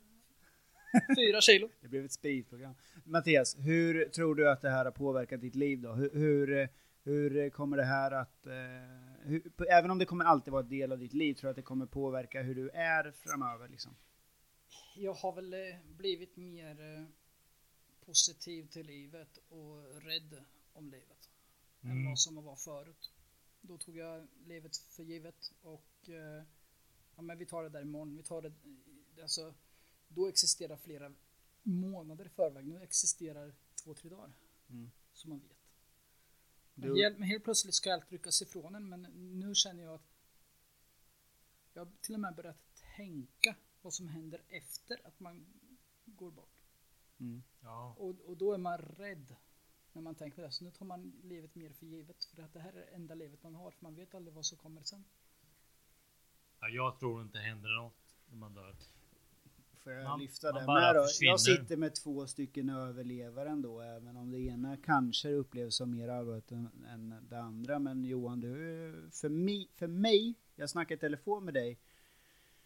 Speaker 3: fyra kilo.
Speaker 2: Det blev ett speedprogram. Mattias, hur tror du att det här har påverkat ditt liv då? Hur, hur, eh, hur kommer det här att... Eh, hur, på- även om det kommer alltid vara en del av ditt liv, tror du att det kommer påverka hur du är framöver? Liksom?
Speaker 3: Jag har väl eh, blivit mer eh, positiv till livet och rädd om livet än
Speaker 4: Mm.
Speaker 3: vad som var förut. Då tog jag livet för givet och eh, ja, men vi tar det där imorgon. Vi tar det, eh, alltså, då existerar flera månader i förväg. Nu existerar två, tre dagar
Speaker 2: Mm.
Speaker 3: som man vet. Men
Speaker 2: Du,
Speaker 3: helt, men helt plötsligt ska allt ryckas ifrån en men nu känner jag att jag har till och med börjat tänka vad som händer efter att man går bort.
Speaker 2: mm.
Speaker 4: ja.
Speaker 3: Och, och då är man rädd när man tänker på det. Så nu tar man livet mer för givet för att det här är det enda livet man har för man vet aldrig vad som kommer sen.
Speaker 4: ja jag tror inte det händer något när man dör.
Speaker 2: Får jag
Speaker 4: Man-
Speaker 2: lyfta
Speaker 4: man
Speaker 2: det
Speaker 4: bara
Speaker 2: med då?
Speaker 4: försvinner.
Speaker 2: Jag sitter med två stycken överlevare ändå, även om det ena kanske upplevs som mer allvarligt än, än det andra. Men Johan, du, för, mi, för mig, jag snackade i telefon med dig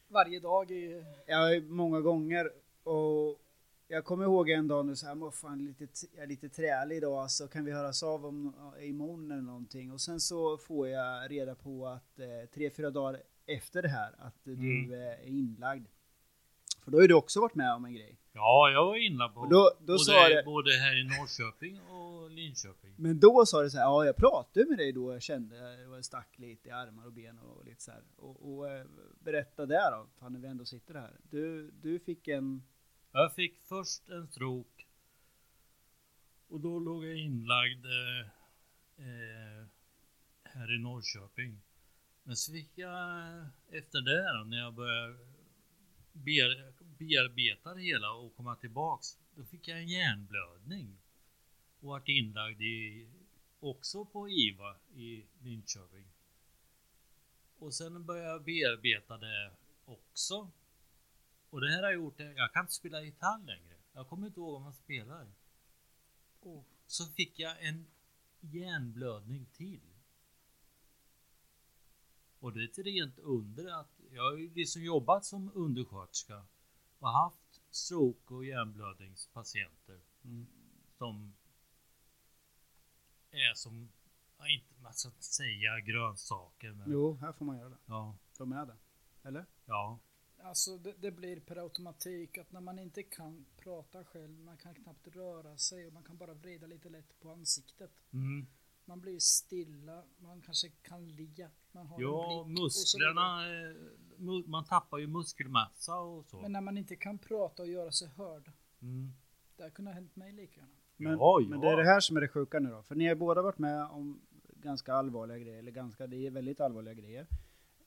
Speaker 3: varje dag. I,
Speaker 2: Ja, många gånger. Och jag kommer ihåg en dag nu så här, "Vad fan, lite, t- jag är lite trälig idag, så kan vi höras av om, imorgon eller någonting. Och sen så får jag reda på att eh, tre, fyra dagar efter det här, att eh,
Speaker 4: Mm.
Speaker 2: du eh, är inlagd. För då har ju du också varit med om en grej.
Speaker 4: Ja, jag var inne på
Speaker 2: Och då- då
Speaker 4: både,
Speaker 2: sa det-
Speaker 4: både här i Norrköping och Linköping.
Speaker 2: Men då sa du så här, ja jag pratade med dig då, jag kände, jag stack lite i armar och ben och, lite så här. Och, och eh, berätta där då, fan när vi ändå sitter här. Du, du fick en,
Speaker 4: Jag fick först en stroke och då låg jag inlagd eh, eh, här i Norrköping. Men så fick jag efter det då, när jag började bear, bearbeta det hela och komma tillbaks, då fick jag en hjärnblödning och vart inlagd i, också på IVA i Linköping. Och sen började jag bearbeta det också. Och det här har gjort det, jag kan inte spela gitarr längre. Jag kommer inte ihåg om man spelar. Och så fick jag en hjärnblödning till. Och det är ett rent under att jag har ju liksom jobbat som undersköterska och haft stroke och hjärnblödningspatienter som är som, ja, inte, man ska inte säga grönsaker men
Speaker 2: jo här får man göra det,
Speaker 4: ja,
Speaker 2: de är det. Eller?
Speaker 4: ja,
Speaker 3: alltså det, det blir per automatik att när man inte kan prata själv, man kan knappt röra sig och man kan bara vrida lite lätt på ansiktet.
Speaker 4: mm.
Speaker 3: Man blir stilla, man kanske kan le, man har
Speaker 4: Ja,
Speaker 3: en blick och så vidare.
Speaker 4: musklerna, eh, mu- man tappar ju muskelmassa och så.
Speaker 3: Men när man inte kan prata och göra sig hörd,
Speaker 4: Mm.
Speaker 3: det här kunde ha hänt mig lika gärna.
Speaker 2: Men,
Speaker 4: Ja, ja.
Speaker 2: men det är det här som är det sjuka nu då. För ni har båda varit med om ganska allvarliga grejer, eller ganska, det är väldigt allvarliga grejer.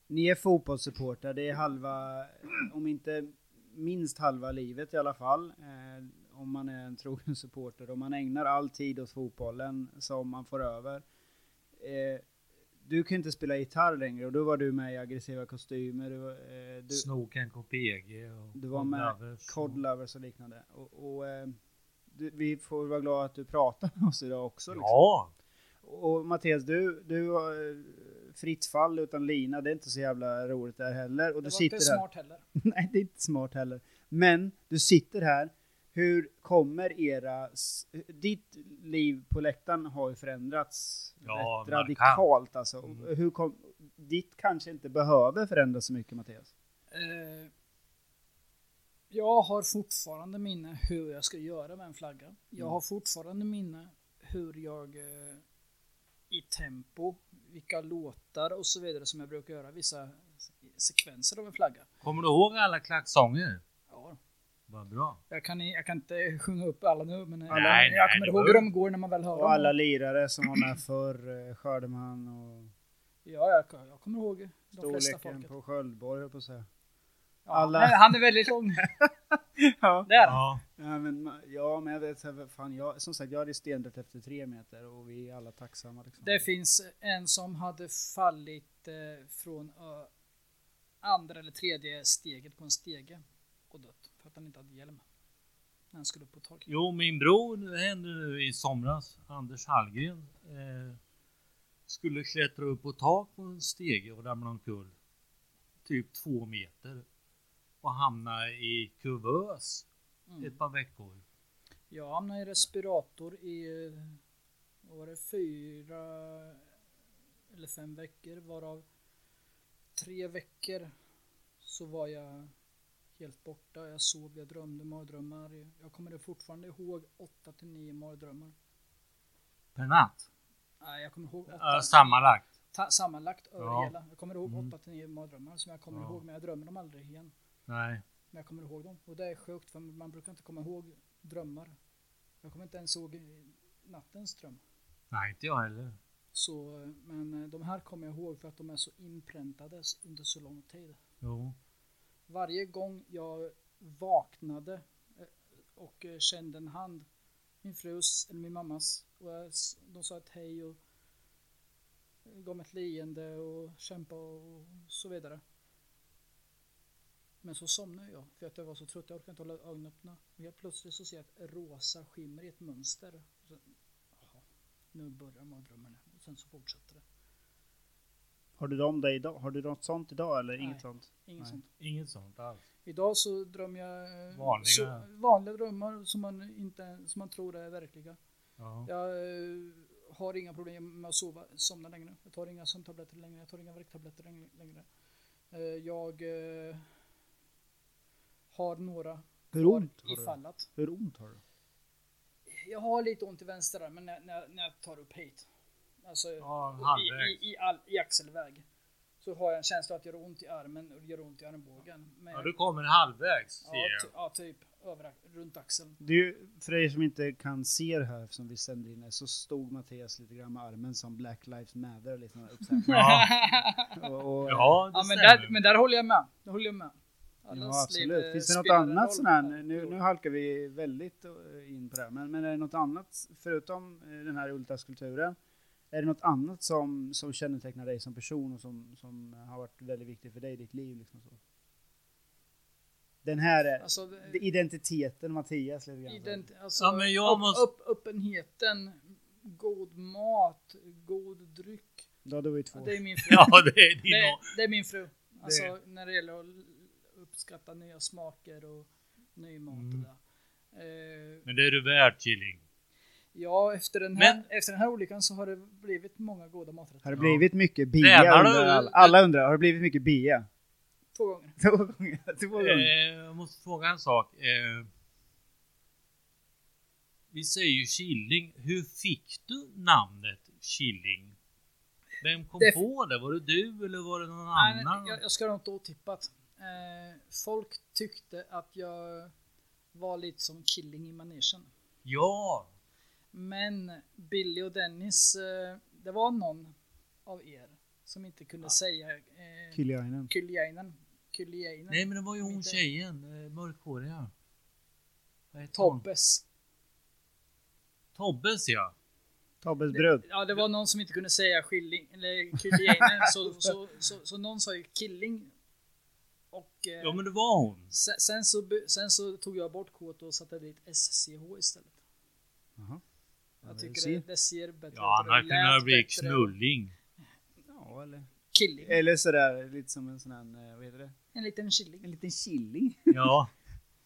Speaker 2: Ni är fotbollssupportrar, det är halva, om inte minst halva livet i alla fall. Eh, om man är en trogen supporter och man ägnar all tid åt fotbollen som man får över. Eh, du kan inte spela gitarr längre och då var du med i aggressiva kostymer. Du, var- eh, du,
Speaker 4: Snoken KPG och
Speaker 2: du var med
Speaker 4: Lovers och-
Speaker 2: Cod Lovers och liknande. Och, och, eh, du, vi får vara glada att du pratar med oss idag också. Liksom.
Speaker 4: Ja,
Speaker 2: Och Mattias, du, du har eh, fritt fall utan lina. Det är inte så jävla roligt där heller. Och
Speaker 3: Det
Speaker 2: du
Speaker 3: var inte
Speaker 2: sitter här.
Speaker 3: smart heller.
Speaker 2: Nej, det är inte smart heller. Men du sitter här. Hur kommer era... s- Ditt liv på läktaren har ju förändrats
Speaker 4: Ja,
Speaker 2: rätt
Speaker 4: markant. Mm.
Speaker 2: radikalt alltså. Hur kom, ditt kanske inte behöver förändras så mycket Mattias.
Speaker 3: Eh, jag har fortfarande minne hur jag ska göra med en flagga. Jag
Speaker 2: Mm.
Speaker 3: har fortfarande minne hur jag eh, i tempo, vilka låtar och så vidare som jag brukar göra, vissa sekvenser av en flagga.
Speaker 4: kommer du ihåg alla klacksånger?
Speaker 3: Ja,
Speaker 4: Vad bra.
Speaker 3: jag, kan, i- jag kan inte sjunga upp alla nu, men alla,
Speaker 4: Nej, nej,
Speaker 3: jag
Speaker 4: det
Speaker 3: kommer
Speaker 4: var
Speaker 3: ihåg
Speaker 4: ju-
Speaker 3: hur de går när man väl hör dem.
Speaker 2: Och alla lirare som var med förr, eh, Skördeman och...
Speaker 3: Ja, jag, jag kommer ihåg de flesta
Speaker 2: Storleken
Speaker 3: folket.
Speaker 2: på Sköldborg, höll jag på att säga.
Speaker 3: Ja,
Speaker 2: alla.
Speaker 3: Nej, han är väldigt lång.
Speaker 2: Ja.
Speaker 3: Där.
Speaker 4: Ja,
Speaker 2: Ja, men, ma- ja, men jag vet så här, vad fan, jag, som sagt, jag hade stendött efter tre meter och vi är alla tacksamma. Liksom.
Speaker 3: Det finns en som hade fallit eh, från ö, andra eller tredje steget på en stege och dött för att han inte hade hjälm. När han skulle upp på tak.
Speaker 4: jo min bror, det hände nu i somras, Anders Hallgren, eh, skulle klättra upp på tak på en stege och ramla omkull. Typ två meter. Och hamna i kuvös
Speaker 3: Mm.
Speaker 4: ett par veckor.
Speaker 3: Jag hamnade i respirator i eh, vad var det, fyra eller fem veckor varav tre veckor så var jag helt borta. Jag sov, jag drömde mardrömmar. Jag kommer fortfarande ihåg 8 till 9 mardrömmar.
Speaker 4: Per natt.
Speaker 3: Nej, jag kommer ihåg 8.
Speaker 4: Ja, Sammanlagt.
Speaker 3: ta- sammanlagt över
Speaker 4: Ja.
Speaker 3: hela. Jag kommer ihåg 8 till 9 mardrömmar som jag kommer ihåg men jag drömmer dem aldrig igen.
Speaker 4: Nej.
Speaker 3: Men jag kommer ihåg dem och det är sjukt för man brukar inte komma ihåg drömmar. Jag kommer inte ens ihåg eh, nattens dröm.
Speaker 4: Nej, inte jag heller.
Speaker 3: Så, eh, men eh, de här kommer jag ihåg för att de är så inpräntade s- under så lång tid.
Speaker 4: Jo.
Speaker 3: Varje gång jag vaknade eh, och eh, kände en hand, min frus eller min mammas, och jag, s- de sa ett hej och eh, gav mig ett leende och kämpa och så vidare. Men så somnade jag för att jag var så trött, jag orkade inte hålla ögonen öppna. Och helt plötsligt så ser jag ett rosa skimmer i ett mönster. Och så, jaha, nu börjar mardrömmarna och sen så fortsätter det.
Speaker 2: Har du, dem där idag? Har du något sånt idag eller
Speaker 3: Nej.
Speaker 2: inget sånt?
Speaker 3: Inget
Speaker 2: Nej.
Speaker 3: sånt.
Speaker 4: Inget sånt alls.
Speaker 3: Idag så drömmer jag eh,
Speaker 4: Vanliga.
Speaker 3: Så, vanliga drömmar som man, inte, som man tror är verkliga.
Speaker 4: Ja.
Speaker 3: Jag eh, har inga problem med att sova, somna längre. Jag tar inga sömntabletter längre. Jag tar inga värktabletter läng- längre. Eh, Jag eh, har några
Speaker 2: Hur ont har
Speaker 3: kvar
Speaker 2: du?
Speaker 3: ifallat.
Speaker 2: Hur ont har du?
Speaker 3: Jag har lite ont i vänster arm, men när, när, när jag tar upp hit. Alltså
Speaker 4: Ja,
Speaker 3: i,
Speaker 4: halvvägs.
Speaker 3: i, i, all, i axelväg. Så har jag en känsla att det gör ont i armen och det gör ont i armbågen. Men,
Speaker 4: Ja, du kommer halvvägs ser
Speaker 3: ja, ty,
Speaker 4: jag.
Speaker 3: ja, typ över, runt axeln.
Speaker 2: Det är ju, för er som inte kan se det här som vi sänder in det, så stod Mattias lite grann med armen som Black Lives Matter. Liksom, upp så här.
Speaker 4: Ja,
Speaker 2: och, och,
Speaker 4: ja, det
Speaker 3: Ja, men,
Speaker 4: stämmer.
Speaker 3: där, men där håller jag med. Där håller jag med. Allas
Speaker 2: Ja,
Speaker 3: liv, eh,
Speaker 2: absolut. Finns det något
Speaker 3: spelar roll.
Speaker 2: annat sån här, nu, nu halkar vi väldigt eh, in på det här, men, men är det något annat, förutom eh, den här ultraskulpturen, är det något annat som, som kännetecknar dig som person och som, som har varit väldigt viktigt för dig i ditt liv? Liksom så? Den här är,
Speaker 3: Alltså,
Speaker 2: det- identiteten Mattias lite grann.
Speaker 3: ident, alltså,
Speaker 4: Ja, men jag
Speaker 3: upp,
Speaker 4: måste-
Speaker 3: upp, öppenheten, god mat, god dryck.
Speaker 2: Då hade vi
Speaker 3: Ja,
Speaker 2: två.
Speaker 3: det är min fru.
Speaker 4: Ja, det är din
Speaker 3: det,
Speaker 4: och-
Speaker 3: det är min fru. Alltså när det gäller att l- uppskatta nya smaker och ny mat
Speaker 2: Mm.
Speaker 3: och det. där. Eh,
Speaker 4: Men det är du värd Killing.
Speaker 3: ja, efter den, här,
Speaker 4: Men-
Speaker 3: efter den här olyckan så har det blivit många goda maträtter.
Speaker 2: Har det blivit mycket bia?
Speaker 4: Tränar du?
Speaker 2: Undrar alla. alla undrar, har det blivit mycket bia?
Speaker 3: Två gånger.
Speaker 2: Två gånger. Två
Speaker 4: Eh,
Speaker 2: gånger.
Speaker 4: jag måste fråga en sak. Eh, vi säger ju Killing. Hur fick du namnet Killing? Vem kom
Speaker 3: Det-
Speaker 4: på det? Var det du eller var det någon
Speaker 3: Nej,
Speaker 4: annan?
Speaker 3: men jag, jag ska ha något otippat. Eh, folk tyckte att jag var lite som killing i manegen.
Speaker 4: Ja!
Speaker 3: Men Billy och Dennis, eh, det var någon av er som inte kunde säga eh,
Speaker 2: Killiainen.
Speaker 3: Kyljainen. Kyljainen.
Speaker 4: Nej men det var ju hon
Speaker 3: Inte-
Speaker 4: tjejen, eh, mörkhåriga. Vad heter hon?
Speaker 3: Tobbes.
Speaker 4: Tobbes ja.
Speaker 2: Tobbes brud.
Speaker 3: Ja, det var någon som inte kunde säga skilling, eller Kyljainen, så, så, så, så någon sa ju killing. Och eh,
Speaker 4: Ja men det var hon.
Speaker 3: sen, sen, så, by- sen så tog jag bort K och satte dit SCH istället.
Speaker 2: Jaha.
Speaker 3: Jag
Speaker 2: men
Speaker 3: tycker
Speaker 2: se.
Speaker 3: det, det ser bättre
Speaker 4: Ja
Speaker 3: ut. och det
Speaker 4: annars kunde
Speaker 3: lät
Speaker 4: det bli
Speaker 3: bättre.
Speaker 4: Knulling.
Speaker 2: Ja, eller?
Speaker 3: Killing.
Speaker 2: Eller sådär, lite som en sån här, eh, vad heter det?
Speaker 3: En liten killing.
Speaker 2: En liten killing
Speaker 4: Ja.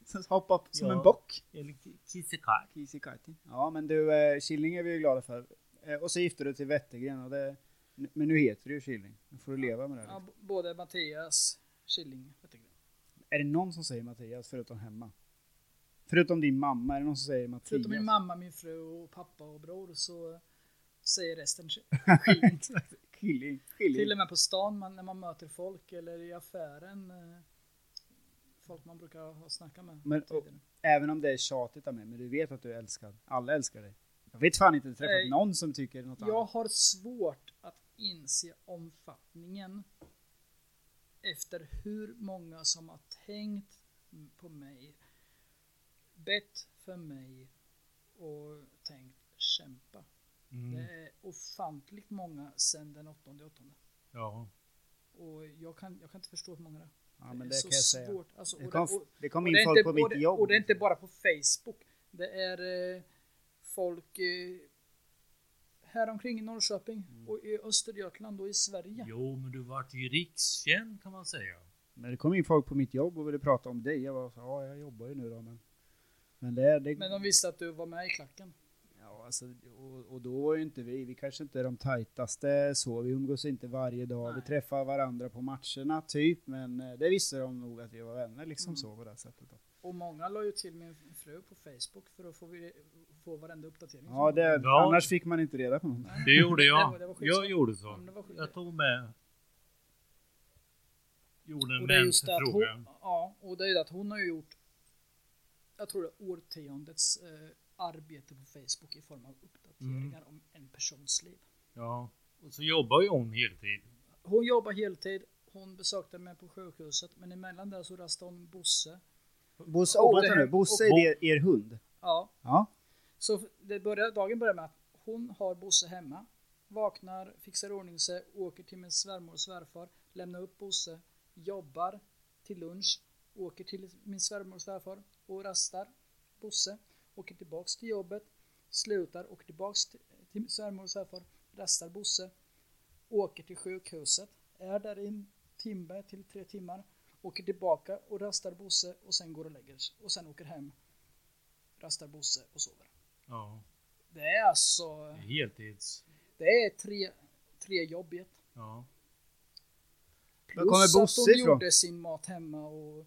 Speaker 2: som hoppar upp som
Speaker 4: Ja.
Speaker 2: en bock.
Speaker 4: Eller Ki- Kissekaj.
Speaker 2: Kisikajti. Ja, men du, eh, killing är vi ju glada för. Eh, och så gifte du till Wettergren och det, n- men nu heter du ju killing. Nu får du leva med det. här,
Speaker 3: Ja,
Speaker 2: Liksom.
Speaker 3: b- både Mattias, killing. Jag tycker.
Speaker 2: Är det någon som säger Mattias förutom hemma? Förutom din mamma, är det någon som säger Mattias?
Speaker 3: Förutom min mamma, min fru och pappa och bror så säger resten killing.
Speaker 2: Killing. killing.
Speaker 3: Till och med på stan man, när man möter folk eller i affären. eh, Folk man brukar ha snackat med.
Speaker 2: Men-
Speaker 3: tidigare.
Speaker 2: Även om det är tjatigt av mig, men du vet att du är älskad. Alla älskar dig. Jag vet fan inte träffat
Speaker 3: Nej.
Speaker 2: någon som tycker något
Speaker 3: jag
Speaker 2: annat.
Speaker 3: har svårt att inse omfattningen efter hur många som har tänkt på mig, bett för mig och tänkt kämpa.
Speaker 4: Mm.
Speaker 3: Det är ofantligt många sedan den 8 åttonde.
Speaker 4: Ja.
Speaker 3: Och jag kan, jag kan inte förstå hur många det är.
Speaker 2: Ja, men
Speaker 3: det är
Speaker 2: det kan jag säga.
Speaker 3: svårt. Alltså, och
Speaker 2: Det kom,
Speaker 3: det- och-
Speaker 2: det kom
Speaker 3: och
Speaker 2: in
Speaker 3: det är
Speaker 2: folk
Speaker 3: inte-
Speaker 2: på
Speaker 3: och
Speaker 2: mitt
Speaker 3: det,
Speaker 2: jobb.
Speaker 3: Och det är inte bara på Facebook. Det är eh, folk eh, här omkring i Norrköping
Speaker 2: Mm.
Speaker 3: och i Östergötland och i Sverige.
Speaker 4: Jo men du vart ju rikskänd kan man säga.
Speaker 2: Men det kom in folk på mitt jobb och ville prata om dig. Jag var så, ja jag jobbar ju nu då men. Men det är det.
Speaker 3: Men de visste att du var med i klacken.
Speaker 2: ja, alltså, och, och då var ju inte vi, vi kanske inte är de tajtaste så. Vi umgås inte varje dag. Vi
Speaker 3: Nej.
Speaker 2: träffar varandra på matcherna typ. Men eh, det visste de nog att vi var vänner liksom
Speaker 3: Mm.
Speaker 2: så på det här sättet. Då.
Speaker 3: Och många la ju till min fru på Facebook för att få, vi- få varenda uppdatering.
Speaker 2: Ja, det,
Speaker 4: Ja.
Speaker 2: annars fick man inte reda på något.
Speaker 4: Det gjorde
Speaker 3: Det
Speaker 4: jag.
Speaker 3: var- det var skitsamma.
Speaker 4: jag gjorde
Speaker 3: Ja, men det var
Speaker 4: så.
Speaker 3: skit.
Speaker 4: Jag tog med. Gjorde en
Speaker 3: Och det är just det att hon,
Speaker 4: mensfråga.
Speaker 3: ja, och det är ju det att hon har ju gjort, jag tror det är årtiondets eh, arbete på Facebook i form av uppdateringar
Speaker 2: Mm.
Speaker 3: om en persons liv.
Speaker 4: Ja. Och så jobbar ju hon heltid.
Speaker 3: Hon jobbar heltid, hon besökte mig på sjukhuset, men emellan där så rastade hon Bosse.
Speaker 2: Bosse,
Speaker 3: Och
Speaker 2: oh, vänta
Speaker 3: det-
Speaker 2: nu. Bosse
Speaker 3: och-
Speaker 2: är er, er hund.
Speaker 3: Ja,
Speaker 2: Ja.
Speaker 3: så det börjar, dagen börjar med att hon har Bosse hemma, vaknar, fixar i ordning sig, åker till min svärmor och svärfar, lämnar upp Bosse, jobbar till lunch, åker till min svärmor och svärfar och rastar Bosse, åker tillbaks till jobbet, slutar, åker tillbaks till, till svärmor och svärfar, rastar Bosse, åker till sjukhuset, är där i en timme till tre timmar, åker tillbaka och rastar Bosse och sen går och lägger sig och sen åker hem, rastar Bosse och sover.
Speaker 4: Ja.
Speaker 3: Det är alltså,
Speaker 4: Heltids.
Speaker 3: det är tre, tre jobb i ett.
Speaker 4: Ja.
Speaker 2: Var kommer
Speaker 3: att
Speaker 2: Bosse
Speaker 3: hon
Speaker 2: ifrån?
Speaker 3: gjorde sin mat hemma och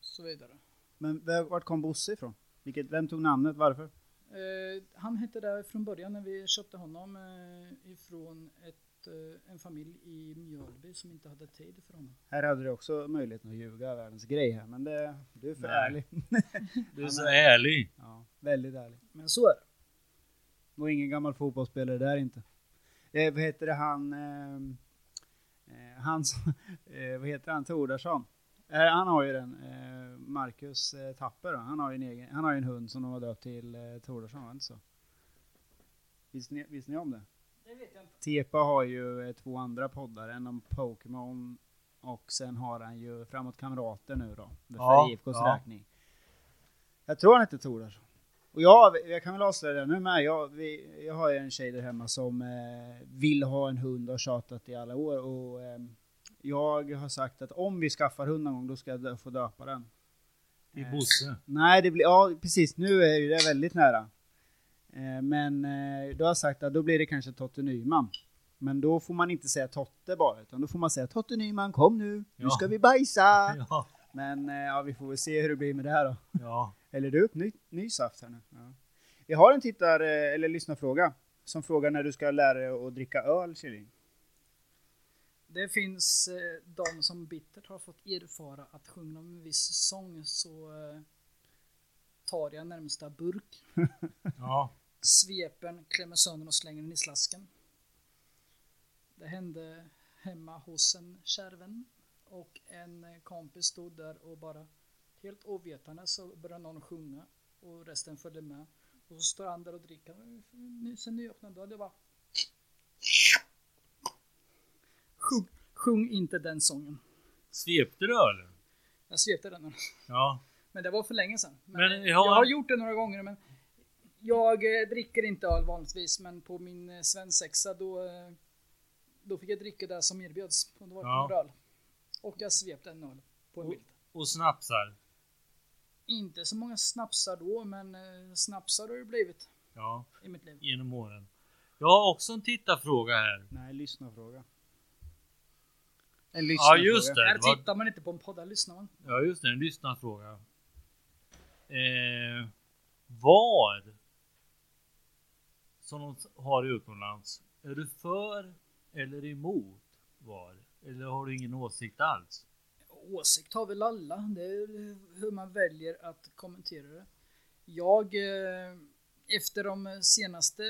Speaker 3: så vidare.
Speaker 2: Men vem- vart kom Bosse ifrån? Vilket, vem tog namnet? Varför?
Speaker 3: Eh, han hette där från början när vi köpte honom eh, ifrån ett, eh, en familj i Mjölby som inte hade tid för honom.
Speaker 2: Här hade du också möjligheten att ljuga världens grej här, men det, du är för
Speaker 4: Nej.
Speaker 2: ärlig.
Speaker 4: Du är så ärlig.
Speaker 2: Ja, väldigt ärlig.
Speaker 3: Men så är det.
Speaker 2: Och ingen gammal fotbollsspelare där inte. Eh, vad heter det han... ehm, Eh, han som- eh, vad heter han? Tordarsson. Eh, han har ju den. Eh, Marcus eh, Tapper då. Han har ju en, egen, han har ju en hund som de har döpt till eh, Tordarsson, var det inte så? Visste ni, visste ni om det?
Speaker 3: Det vet jag inte.
Speaker 2: Tepa har ju eh, två andra poddar, en om Pokémon och sen har han ju Framåt Kamrater nu då, för
Speaker 4: Ja,
Speaker 2: IFKs
Speaker 4: ja.
Speaker 2: räkning. Jag tror han heter Thorarsson. Och jag, jag kan väl avslöja det nu med, jag, vi, jag har ju en tjej där hemma som eh, vill ha en hund och har tjatat i alla år och ehm, jag har sagt att om vi skaffar hund någon gång då ska jag dö, få döpa den.
Speaker 4: Det
Speaker 2: Eh,
Speaker 4: är Bosse.
Speaker 2: Nej, det blir, ja precis, nu är ju det väldigt nära. Eh, Men eh, du har jag sagt att då blir det kanske Totte Nyman. Men då får man inte säga Totte bara, utan då får man säga Totte Nyman kom nu, nu
Speaker 4: Ja.
Speaker 2: ska vi bajsa!
Speaker 4: Ja.
Speaker 2: Men eh, ja, vi får väl se hur det blir med det här då.
Speaker 4: Ja.
Speaker 2: Eller du, ny, ny saft här nu. Ja. Vi har en tittar, eh, eller lyssnarfråga, som frågar när du ska lära dig att dricka öl, Killing.
Speaker 3: Det finns eh, de som bittert har fått erfara att sjunga om en viss sång så eh, tar jag närmsta burk,
Speaker 4: ja.
Speaker 3: svepen, klämmer sönder och slänger den i slasken. Det hände hemma hos en kär vän och en eh, kompis stod där och bara helt ovetande så började någon sjunga och resten följde med. Och så står han där och dricker Nu- sen nyöppnad dörr. Det bara sjung, sjung inte den sången.
Speaker 4: Svepte du eller?
Speaker 3: Jag svepte den.
Speaker 4: Ja.
Speaker 3: Men det var för länge sedan. Men eh,
Speaker 4: Men jag-
Speaker 3: jag har gjort det några gånger. Men jag eh, dricker inte öl vanligtvis, men på min eh, svensexa då, eh, då fick jag dricka det som erbjöds. Och det var
Speaker 4: Ja.
Speaker 3: några öl. Och jag svepte en öl på en
Speaker 4: Och-
Speaker 3: bild.
Speaker 4: Och snapsar.
Speaker 3: Inte så många snapsar då, men eh, snapsar har det blivit
Speaker 4: Ja.
Speaker 3: i mitt liv.
Speaker 4: Genom åren. Jag har också en tittarfråga här.
Speaker 2: Nej, lyssnarfråga. En
Speaker 4: Ja
Speaker 2: lyssnarfråga.
Speaker 4: just det.
Speaker 3: Här
Speaker 4: det var-
Speaker 3: tittar man inte på en podd, här lyssnar man.
Speaker 4: Ja, just det. En lyssnarfråga. Eh, vad som de har utomlands, är du för eller emot var? Eller har du ingen åsikt alls?
Speaker 3: Åsikt har väl alla. Det är hur man väljer att kommentera det. Jag, eh, efter de senaste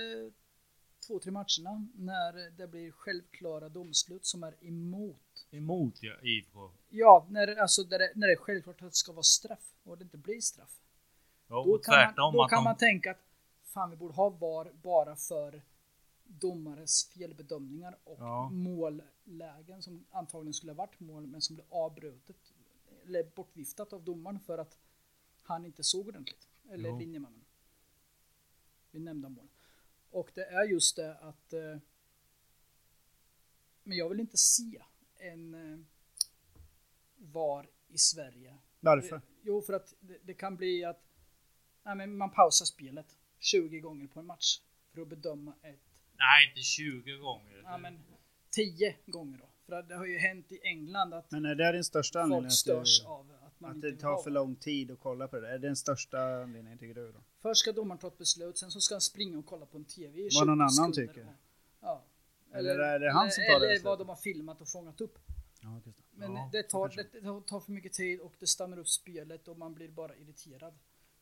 Speaker 3: två, tre matcherna när det blir självklara domslut som är emot.
Speaker 4: Emot ja, IFK?
Speaker 3: Ja, när, det- alltså där det, när det är självklart att det ska vara straff och det inte blir straff.
Speaker 4: Ja,
Speaker 3: Då
Speaker 4: och
Speaker 3: kan, man,
Speaker 4: tvärtom
Speaker 3: då
Speaker 4: att
Speaker 3: kan
Speaker 4: de,
Speaker 3: man tänka att fan, vi borde ha VAR bara för domares felbedömningar och
Speaker 4: Ja.
Speaker 3: mållägen som antagligen skulle ha varit mål men som blev avbrutet eller bortviftat av domaren för att han inte såg ordentligt. Eller
Speaker 4: Jo.
Speaker 3: linjemannen. Vid nämnda mål. Och det är just det att eh, men jag vill inte se en eh, VAR i Sverige
Speaker 2: Varför?
Speaker 3: Eh, Jo, för att det, det kan bli att nej, men man pausar spelet 20 gånger på en match för att bedöma ett,
Speaker 4: Nej, inte 20 gånger.
Speaker 3: ja men 10 gånger då. För att det har ju hänt i England att
Speaker 2: Men är det din största anledning
Speaker 3: folk
Speaker 2: att
Speaker 3: störs
Speaker 2: du...
Speaker 3: av att man
Speaker 2: Att
Speaker 3: inte
Speaker 2: det
Speaker 3: vill
Speaker 2: tar
Speaker 3: ha
Speaker 2: för
Speaker 3: det.
Speaker 2: lång tid att kolla på det. Är det den största anledningen tycker du? Då?
Speaker 3: Först ska domaren ta ett beslut, sen så ska han springa och kolla på en TV i
Speaker 2: Vad någon
Speaker 3: 20
Speaker 2: annan
Speaker 3: sekunder.
Speaker 2: tycker.
Speaker 3: Ja.
Speaker 2: Eller är det han som tar det
Speaker 3: Eller
Speaker 2: beslutet?
Speaker 3: vad de har filmat och fångat upp.
Speaker 2: Ja, just det.
Speaker 3: Men
Speaker 4: Ja,
Speaker 3: det, tar,
Speaker 2: kanske.
Speaker 3: det, det tar för mycket tid och det stannar upp spelet och man blir bara irriterad.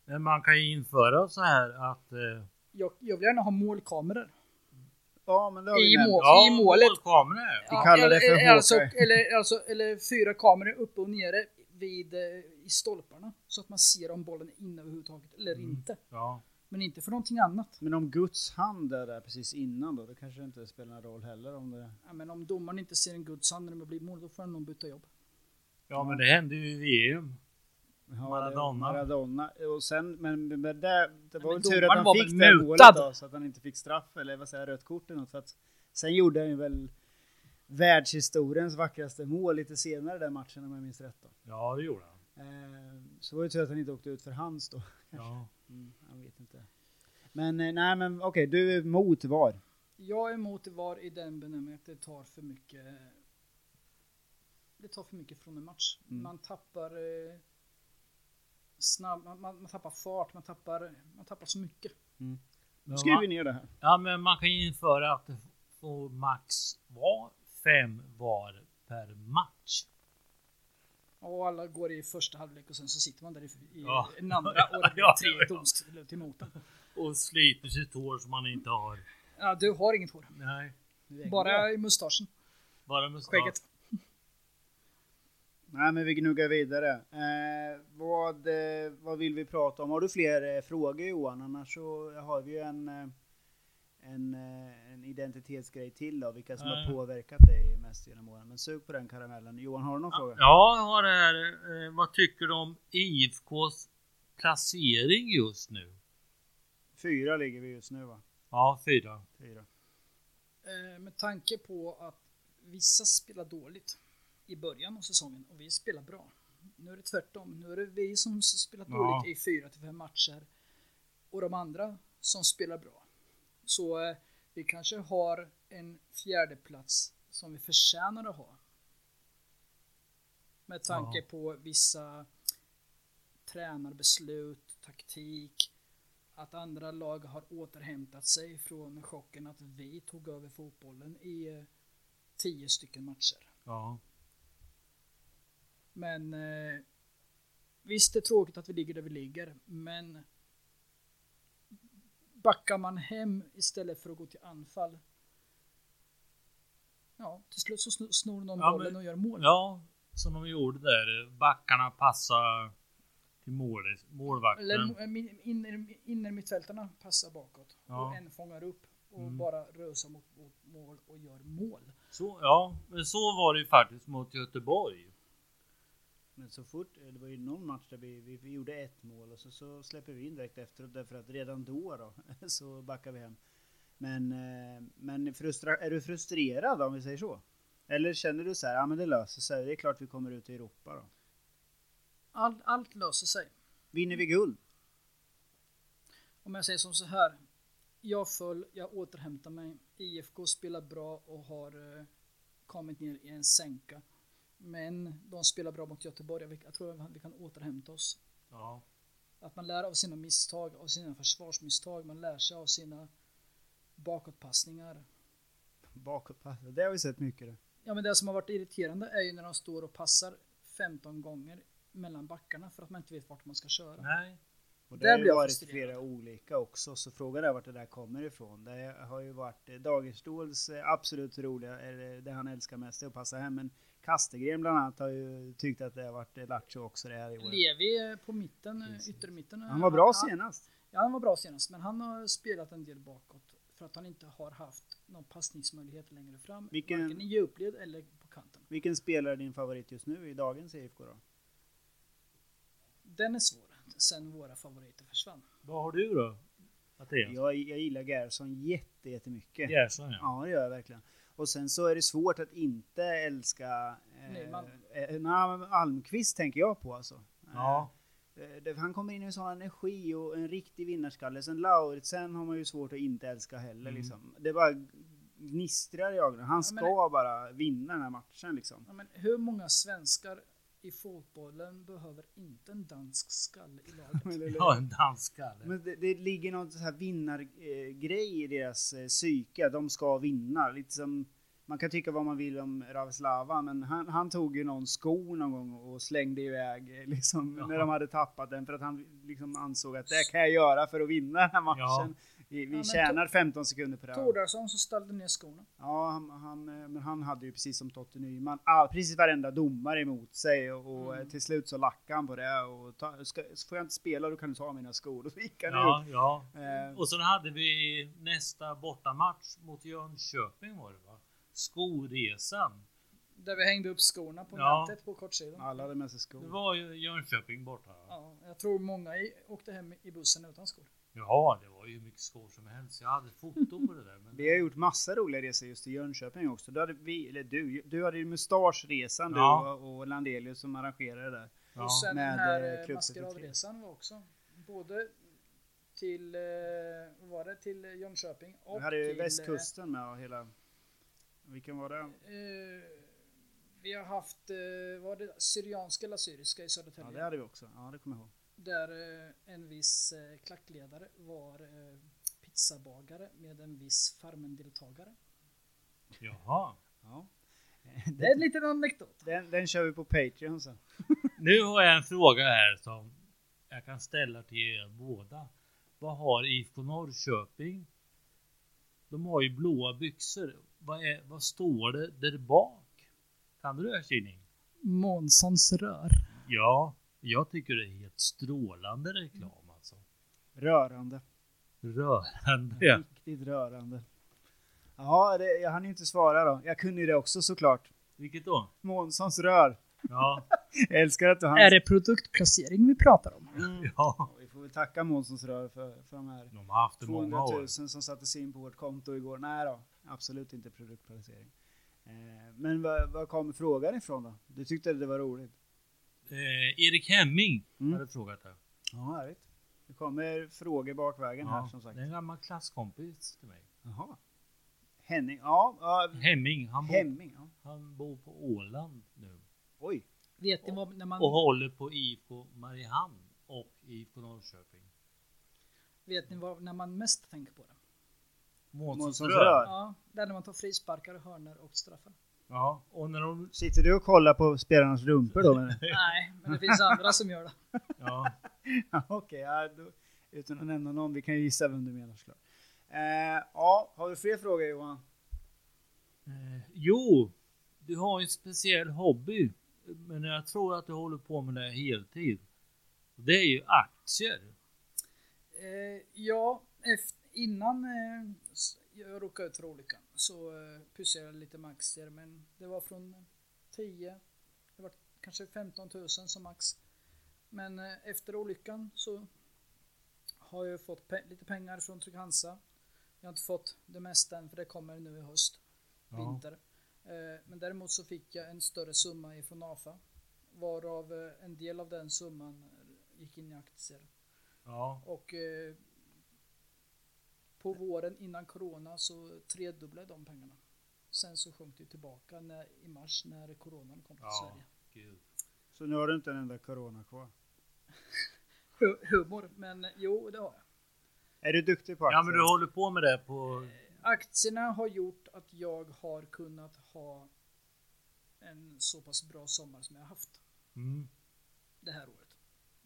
Speaker 4: Men man kan ju införa så här att... Eh,
Speaker 3: Jag, jag vill gärna ha målkameror.
Speaker 2: Ja, men det har vi
Speaker 3: I
Speaker 2: nämnt.
Speaker 3: mål.
Speaker 4: ja,
Speaker 3: i målet.
Speaker 4: målkamera.
Speaker 2: Vi kallar det för
Speaker 3: eller, alltså,
Speaker 2: HK.
Speaker 3: eller, alltså, eller fyra kameror uppe och nere vid, eh, i stolparna. Så att man ser om bollen är inne överhuvudtaget eller
Speaker 2: Mm.
Speaker 3: inte.
Speaker 4: Ja.
Speaker 3: Men inte för någonting annat.
Speaker 2: Men om Guds hand är där precis innan då, då kanske det inte spelar någon roll heller om det...
Speaker 3: Ja, men om domaren inte ser en Guds hand när det blir mål, då får han nog byta jobb.
Speaker 4: ja, men det hände ju i VM.
Speaker 2: Ja, det-
Speaker 4: Maradona.
Speaker 2: Maradona. Och sen, men, men det, det var
Speaker 3: men
Speaker 2: väl tur
Speaker 3: domaren
Speaker 2: att han
Speaker 3: var
Speaker 2: fick
Speaker 3: väl
Speaker 2: det
Speaker 3: mutad.
Speaker 2: målet då, så att han inte fick straff eller vad säger jag, rött kort eller något. För att, sen gjorde han ju väl världshistoriens vackraste mål lite senare i den matchen om jag minns rätt. Då.
Speaker 4: Ja, det gjorde han.
Speaker 2: Eh, så var det tur att han inte åkte ut för hans då.
Speaker 4: Ja.
Speaker 2: Mm, jag vet inte. Men eh, nej, men okej, du är mot VAR.
Speaker 3: Jag är emot VAR i den benämningen att det tar för mycket. Det tar för mycket från en match.
Speaker 2: Mm.
Speaker 3: Man tappar eh, snabb, man, man, man tappar fart, man tappar, man tappar så mycket.
Speaker 2: Nu
Speaker 4: Men
Speaker 2: skriver
Speaker 4: man,
Speaker 2: vi ner det här.
Speaker 4: ja, men man kan ju införa att det får max vara fem VAR per match.
Speaker 3: Och alla går i första halvlek och sen så sitter man där i, i
Speaker 4: Ja.
Speaker 3: en andra och det
Speaker 4: Ja,
Speaker 3: blir
Speaker 4: ja, ja.
Speaker 3: tre domslut till notan.
Speaker 4: Och sliter sitt hår som man inte har.
Speaker 3: Ja, du har inget hår.
Speaker 4: Nej.
Speaker 2: Du är glad.
Speaker 3: Bara i mustaschen.
Speaker 4: Bara med
Speaker 3: Skägget.
Speaker 2: Nej, men vi gnuggar vidare. Eh, vad, eh, vad vill vi prata om? Har du fler eh, frågor Johan? Annars så har vi ju en, eh, en, eh, en identitetsgrej till då, vilka som har
Speaker 4: Ja.
Speaker 2: påverkat dig mest genom åren. Men sug på den karamellen. Johan, har du någon fråga?
Speaker 4: Ja, jag har det här. Eh, vad tycker du om IFKs placering just nu?
Speaker 2: Fyra ligger vi just nu va?
Speaker 4: Ja, fyra.
Speaker 2: Fyra.
Speaker 3: Eh, med tanke på att vissa spelar dåligt i början av säsongen och vi spelar bra. Nu är det tvärtom. Nu är det vi som s- spelat
Speaker 4: Ja.
Speaker 3: dåligt i fyra till fem matcher och de andra som spelar bra. Så eh, vi kanske har en fjärde plats som vi förtjänar att ha. Med tanke
Speaker 4: Ja.
Speaker 3: på vissa tränarbeslut, taktik, att andra lag har återhämtat sig från chocken att vi tog över fotbollen i eh, tio stycken matcher.
Speaker 4: Ja.
Speaker 3: Men eh, visst, det är tråkigt att vi ligger där vi ligger, men backar man hem istället för att gå till anfall. Ja, till slut så sno- snor någon
Speaker 4: Ja,
Speaker 3: bollen
Speaker 4: men-
Speaker 3: och gör mål.
Speaker 4: Ja, som de gjorde där. Backarna passar till målet, målvakten.
Speaker 3: Eller min- inner- innermittfältarna passar bakåt
Speaker 4: Ja.
Speaker 3: och en fångar upp och
Speaker 4: Mm.
Speaker 3: bara rusar mot, mot mål och gör mål.
Speaker 4: Så, ja, men så var det ju faktiskt mot Göteborg.
Speaker 2: Men så fort, eh, det var ju någon match där vi, vi, vi gjorde ett mål och så, så släpper vi in direkt efteråt därför att redan då, då så backar vi hem. Men, eh, men frustra, är du frustrerad om vi säger så? Eller känner du så här, ja men det löser sig, det är klart vi kommer ut i Europa då.
Speaker 3: All, allt löser sig.
Speaker 2: Vinner vi guld?
Speaker 3: Om jag säger som så här. Jag föll, jag återhämtar mig. IFK spelar bra och har eh, kommit ner i en sänka. Men de spelar bra mot Göteborg. Jag- Jag tror att vi kan återhämta oss.
Speaker 4: Ja.
Speaker 3: Att man lär av sina misstag, av sina försvarsmisstag. Man lär sig av sina bakåtpassningar.
Speaker 2: Bakåtpass, det har vi sett mycket. Det.
Speaker 3: Ja, men det som har varit irriterande är ju när de står och passar 15 gånger mellan backarna för att man inte vet vart man ska köra.
Speaker 4: Nej.
Speaker 2: Och
Speaker 3: Där
Speaker 2: det har
Speaker 3: blir
Speaker 2: ju
Speaker 3: jag
Speaker 2: varit
Speaker 3: frustrerad.
Speaker 2: flera olika också, så frågan är vart det där kommer ifrån. Det har ju varit eh, Dagerståhls eh, absolut roliga, eller det han älskar mest, är att passa hem. Men Kastegren bland annat har ju tyckt att det har varit eh, lattjo också det här i år.
Speaker 3: Levi på mitten, eh, yttermitten. eh,
Speaker 2: Han var bra
Speaker 3: han-
Speaker 2: senast.
Speaker 3: Ja, han var bra senast, men han har spelat en del bakåt för att han inte har haft någon passningsmöjlighet längre fram.
Speaker 2: Vilken-
Speaker 3: Varken i djupled eller på kanten.
Speaker 2: Vilken spelare är din favorit just nu i dagens IFK då?
Speaker 3: Den är svår, sen våra favoriter försvann.
Speaker 4: Vad har du då? Mattias?
Speaker 2: Jag, jag gillar Gerson jätte, jättemycket.
Speaker 4: Gerson ja.
Speaker 2: Ja, det gör jag verkligen. Och sen så är det svårt att inte älska eh,
Speaker 3: Nyman.
Speaker 2: Eh, nej, men Almqvist tänker jag på alltså.
Speaker 4: Ja.
Speaker 2: Eh, det- Han kommer in med sån energi och en riktig vinnarskalle. Sen Lauritsen har man ju svårt att inte älska heller.
Speaker 4: Mm.
Speaker 2: Liksom. Det bara gnistrar i ögonen. Han
Speaker 3: Ja,
Speaker 2: ska
Speaker 3: men-
Speaker 2: bara vinna den här matchen. Liksom.
Speaker 3: Ja, men hur många svenskar i fotbollen behöver inte en dansk skalle i laget?
Speaker 4: Ja, en danskare.
Speaker 2: Men det, det ligger någon så här vinnargrej i deras eh, psyke. De ska vinna. Lite som, man kan tycka vad man vill om Ravslava, men han, han tog ju någon sko någon gång och slängde iväg eh, liksom,
Speaker 4: Ja.
Speaker 2: när de hade tappat den för att han liksom ansåg att det kan jag göra för att vinna den här matchen. Vi, vi
Speaker 3: men
Speaker 2: tjänar 15 sekunder på det här.
Speaker 3: Tordarsson som ställde ner skorna.
Speaker 2: Ja, han, han, eh, men han hade ju precis som Totte Nyman, all, precis varenda domare emot sig och, och eh, till slut så lackade han på det och ta, ska, får jag inte spela då kan du ta mina skor. Och så gick han ut.
Speaker 4: Ja, ja.
Speaker 2: Eh,
Speaker 4: Och sen hade vi nästa bortamatch mot Jönköping var det va? Skoresan.
Speaker 3: Där vi hängde upp skorna på
Speaker 4: Ja.
Speaker 3: nätet på kortsidan.
Speaker 2: Alla hade med sig
Speaker 4: Det
Speaker 2: skor.
Speaker 4: var ju Jönköping borta. va?
Speaker 3: Ja, jag tror många i, åkte hem i bussen utan skor.
Speaker 4: Ja, det var ju hur mycket skor som helst. Jag hade foto på det där. Men...
Speaker 2: Vi har gjort massa roliga resor just till Jönköping också. Då hade vi, eller du, du hade ju mustaschresan
Speaker 4: Ja.
Speaker 2: du och- och Landelius som arrangerade det där.
Speaker 4: Ja.
Speaker 3: Och sen
Speaker 2: Med,
Speaker 3: den
Speaker 2: eh,
Speaker 3: här eh,
Speaker 2: klubb
Speaker 3: maskeradresan var också. Både till, eh, vad var det, till eh, Jönköping och
Speaker 2: Vi hade ju
Speaker 3: till, eh,
Speaker 2: västkusten med och hela... Vilken var det?
Speaker 3: Eh, vi har haft, eh, var det Syrianska eller Assyriska i
Speaker 2: Ja,
Speaker 3: Södertälje?
Speaker 2: det hade vi också. Ja, det kommer jag ihåg.
Speaker 3: Där eh, en viss eh, klackledare var eh, pizzabagare med en viss Farmen-deltagare.
Speaker 4: Jaha.
Speaker 2: Ja.
Speaker 3: Det är en liten anekdot.
Speaker 2: Den, den kör vi på Patreon sen.
Speaker 4: Nu har jag en fråga här som jag kan ställa till er båda. Vad har IFK Norrköping? De har ju blåa byxor. Vad, är, vad står det där bak? Kan du det här Kinning?
Speaker 3: Månssons rör.
Speaker 4: Ja, jag tycker det är helt strålande reklam alltså.
Speaker 2: Rörande.
Speaker 4: Rörande.
Speaker 2: Riktigt rörande. Ja, det, jag hann ju inte svara då. Jag kunde ju det också såklart.
Speaker 4: Vilket då?
Speaker 2: Månssons rör.
Speaker 4: Ja,
Speaker 2: Jag älskar att du hann.
Speaker 3: Är det produktplacering vi pratar om?
Speaker 4: ja.
Speaker 2: Vi får väl tacka Månssons rör för, för de här
Speaker 4: De har haft det
Speaker 2: 200
Speaker 4: många
Speaker 2: 000
Speaker 4: år.
Speaker 2: som sattes in på vårt konto igår. Nej då, absolut inte produktplacering. Eh, Men vad, vad kom frågan ifrån då? Du tyckte det var roligt?
Speaker 4: Eh, Erik Hemming
Speaker 2: Mm.
Speaker 4: hade frågat det.
Speaker 2: Ja, härligt. Det kommer frågor bakvägen här
Speaker 4: Ja,
Speaker 2: som sagt.
Speaker 4: Det är en gammal klasskompis till mig.
Speaker 2: Jaha. Henning, ja. ja
Speaker 4: Hemming, han bor,
Speaker 2: Hemming, ja.
Speaker 4: han bor på Åland nu.
Speaker 2: Oj.
Speaker 3: Vet ni vad, när man,
Speaker 4: Och håller på IFK Mariehamn och IFK Norrköping.
Speaker 3: vet ni vad, när man mest tänker på det?
Speaker 2: Månssons
Speaker 4: rör.
Speaker 2: rör.
Speaker 3: Ja, där när man tar frisparkar, hörnor och straffar.
Speaker 4: Ja, och när de...
Speaker 2: Sitter du och kollar på spelarnas rumpor då? menar du?
Speaker 3: Nej, men det finns andra som gör det.
Speaker 4: Ja,
Speaker 2: Ja, Okej, ja, då- utan att nämna någon. Vi kan ju gissa vem du menar såklart. Eh, ja, har du fler frågor Johan?
Speaker 4: Eh, Jo, du har en speciell hobby. Men jag tror att du håller på med det heltid. Det är ju aktier.
Speaker 3: Eh, ja, efter, innan eh, s- jag råkade ut för olyckan så eh, pyssade jag lite med aktier men det var från 10, det var kanske 15 000 som max. Men eh, efter olyckan så har jag fått pe- lite pengar från Trygg-Hansa. Jag har inte fått det mesta än för det kommer nu i höst, vinter. Eh, men däremot så fick jag en större summa ifrån AFA varav eh, en del av den summan eh, gick in i aktier.
Speaker 4: Ja,
Speaker 3: Och eh, på våren innan corona så tredubblade de pengarna. Sen så sjönk det tillbaka när, i mars när coronan kom till
Speaker 4: Ja.
Speaker 3: Sverige.
Speaker 4: gud.
Speaker 2: Så nu har du inte en enda corona kvar.
Speaker 3: Hu- Humor, men eh, jo det har jag.
Speaker 2: Är du duktig på aktier?
Speaker 4: Ja, men du håller på med det på...
Speaker 3: Aktierna har gjort att jag har kunnat ha en så pass bra sommar som jag har haft
Speaker 4: Mm.
Speaker 3: det här året.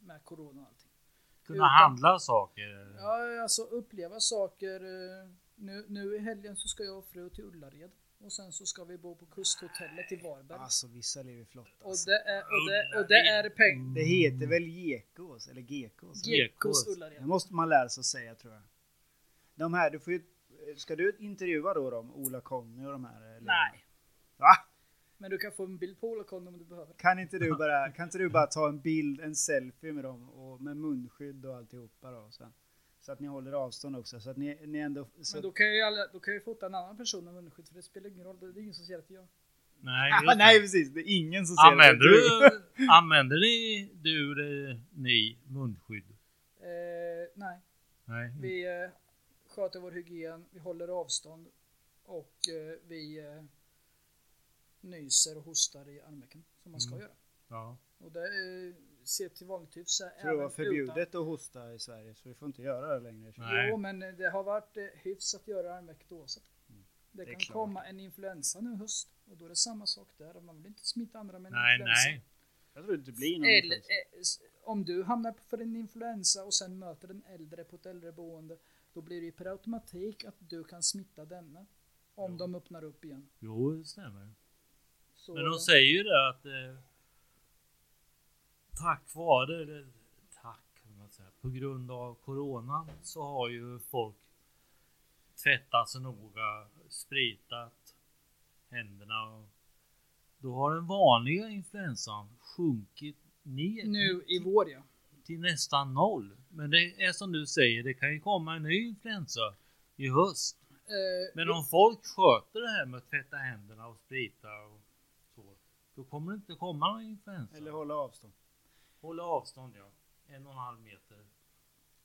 Speaker 3: Med corona och allting.
Speaker 4: Kunna
Speaker 3: Utan-
Speaker 4: handla saker.
Speaker 3: Ja, alltså uppleva saker. eh, Nu, nu i helgen så ska jag och fru till Ullared och sen så ska vi bo på kusthotellet i Varberg.
Speaker 2: Alltså vissa lever flott
Speaker 3: Och
Speaker 2: alltså.
Speaker 3: det är, och det, och det är peng.
Speaker 2: Det heter väl Gekås eller Gekås?
Speaker 4: Ge-
Speaker 3: Gekos
Speaker 2: Det
Speaker 3: Ullared.
Speaker 2: måste man lära sig att säga tror jag. De här, du får ju, ska du intervjua då dem? Ola Conny och de här? Eller?
Speaker 3: Nej,
Speaker 2: Va?
Speaker 3: men du kan få en bild på Olakon om du behöver.
Speaker 2: Kan inte, du bara, kan inte du bara ta en bild, en selfie med dem och med munskydd och alltihopa då? Så, så att ni håller avstånd också. Så att ni, ni ändå... Så,
Speaker 3: Men då kan jag ju alla- då kan jag ju fota en annan person med munskydd för det spelar ingen roll. Det är ingen som ser att det är jag.
Speaker 4: Nej,
Speaker 2: ah,
Speaker 4: just det.
Speaker 2: nej precis, det är ingen som ser
Speaker 4: Använder
Speaker 2: det.
Speaker 4: du, använder ni, du eller ni munskydd?
Speaker 3: Eh, nej,
Speaker 4: Nej.
Speaker 3: vi eh, sköter vår hygien, vi håller avstånd och eh, vi eh, nyser och hostar i armvecken som man ska
Speaker 4: Mm.
Speaker 3: göra.
Speaker 4: Ja.
Speaker 3: Och det eh, ser till vanligt hyfs.
Speaker 2: Jag tror det var förbjudet att hosta i Sverige så vi får inte göra det längre.
Speaker 4: Nej.
Speaker 3: Jo, men det har varit eh, hyfs att göra armvecket oavsett.
Speaker 4: Mm.
Speaker 3: Det,
Speaker 2: det är
Speaker 3: kan
Speaker 2: klart.
Speaker 3: komma en influensa nu i höst och då är det samma sak där. Man vill inte smitta andra med en
Speaker 4: Nej,
Speaker 3: influensa.
Speaker 4: nej.
Speaker 2: Jag tror inte det blir någon
Speaker 3: Eller,
Speaker 2: influensa.
Speaker 3: eh, s- om du hamnar på- för en influensa och sen möter en äldre på ett äldreboende, då blir det ju per automatik att du kan smitta denna. Om de öppnar upp igen.
Speaker 4: Jo, det stämmer.
Speaker 3: Så,
Speaker 4: Men de säger ju det att eh, tack vare, eller tack, kan man säga, på grund av coronan så har ju folk tvättat sig noga, spritat händerna. Och då har den vanliga influensan sjunkit ner
Speaker 3: nu i vår ja.
Speaker 4: till nästan noll. Men det är som du säger, det kan ju komma en ny influensa i höst.
Speaker 3: Eh,
Speaker 4: Men om folk sköter det här med att tvätta händerna och sprita och så, då kommer det inte komma någon influensa.
Speaker 2: Eller hålla avstånd.
Speaker 4: Hålla avstånd ja, en och en halv meter.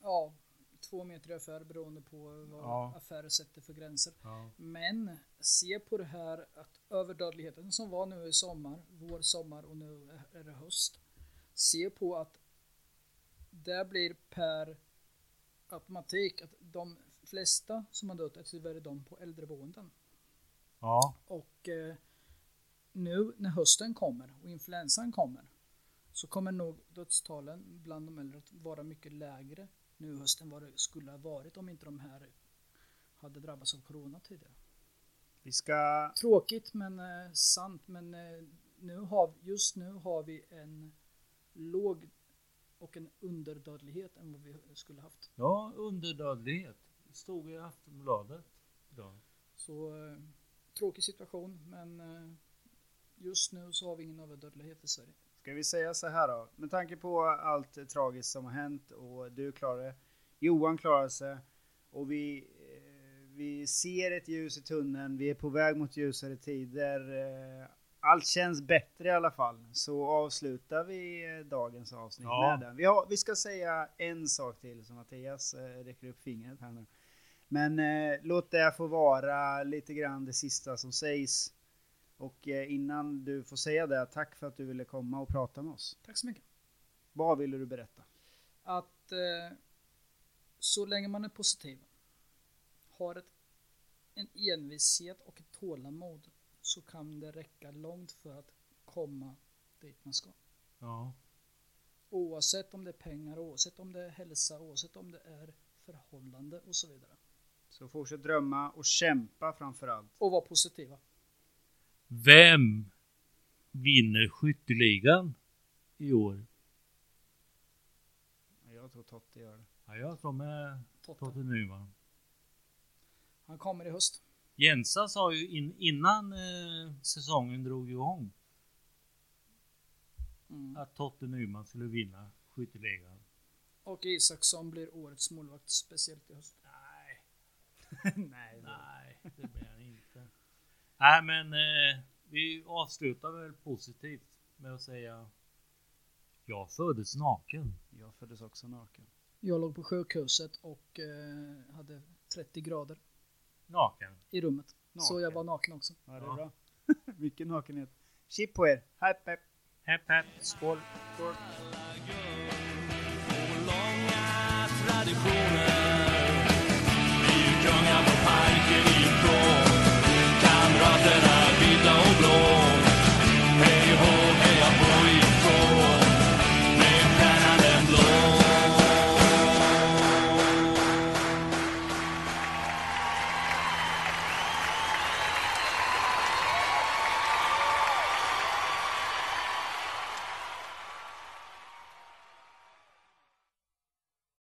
Speaker 3: Ja, två meter i affär beroende på vad
Speaker 2: Ja.
Speaker 3: affärer sätter för gränser.
Speaker 4: Ja.
Speaker 3: Men se på det här att överdödligheten som var nu i sommar, vår sommar och nu är det höst. Se på att det blir per automatik att de flesta som har dött är tyvärr de på äldreboenden.
Speaker 4: ja.
Speaker 3: Och eh, nu när hösten kommer och influensan kommer så kommer nog dödstalen bland de äldre att vara mycket lägre nu i hösten vad det skulle ha varit om inte de här hade drabbats av corona tidigare.
Speaker 2: Vi ska...
Speaker 3: Tråkigt men eh, sant men eh, nu har, just nu har vi en låg och en underdödlighet än vad vi skulle haft.
Speaker 4: ja, underdödlighet. Stod i Aftonbladet idag.
Speaker 3: Så eh, tråkig situation men eh, just nu så har vi ingen överdödlighet i Sverige.
Speaker 2: Ska vi säga så här då? Med tanke på allt tragiskt som har hänt och du klarar det. Johan klarar sig. Och vi, eh, vi ser ett ljus i tunneln. Vi är på väg mot ljusare tider. Eh, Allt känns bättre i alla fall. Så avslutar vi eh, dagens avsnitt
Speaker 4: Ja.
Speaker 2: med den. Vi, har, vi ska säga en sak till som Mattias eh, räcker upp fingret här nu. Men eh, låt det få vara lite grann det sista som sägs. Och eh, innan du får säga det, tack för att du ville komma och prata med oss.
Speaker 3: Tack så mycket.
Speaker 2: Vad ville du berätta?
Speaker 3: att eh, så länge man är positiv, har ett, en envishet och ett tålamod så kan det räcka långt för att komma dit man ska.
Speaker 4: Ja.
Speaker 3: Oavsett om det är pengar, oavsett om det är hälsa, oavsett om det är förhållande och så vidare.
Speaker 2: Så fortsätt drömma och kämpa framför allt.
Speaker 3: Och vara positiva.
Speaker 4: Vem vinner skytteligan i år?
Speaker 2: Jag tror Totte gör det.
Speaker 4: Ja, jag tror med Totte
Speaker 3: Totte.
Speaker 4: Nyman.
Speaker 3: Han kommer i höst.
Speaker 4: Jensa sa ju in, innan eh, säsongen drog igång
Speaker 3: Mm.
Speaker 4: att Totte Nyman skulle vinna skytteligan.
Speaker 3: Och Isaksson blir årets målvakt speciellt i höst.
Speaker 4: Nej,
Speaker 2: Nej.
Speaker 4: nej, det blir han inte. Nej, men eh, vi avslutar väl positivt med att säga jag föddes naken.
Speaker 2: Jag föddes också naken.
Speaker 3: Jag låg på sjukhuset och eh, hade 30 grader
Speaker 4: Naken.
Speaker 3: i rummet. Så jag
Speaker 2: Naken.
Speaker 3: var naken också.
Speaker 2: Ja, det är
Speaker 4: Ja.
Speaker 2: bra. Mycket nakenhet. Chip på er. Hepp, hepp.
Speaker 4: Hepp, hepp, skål.
Speaker 1: och långa traditioner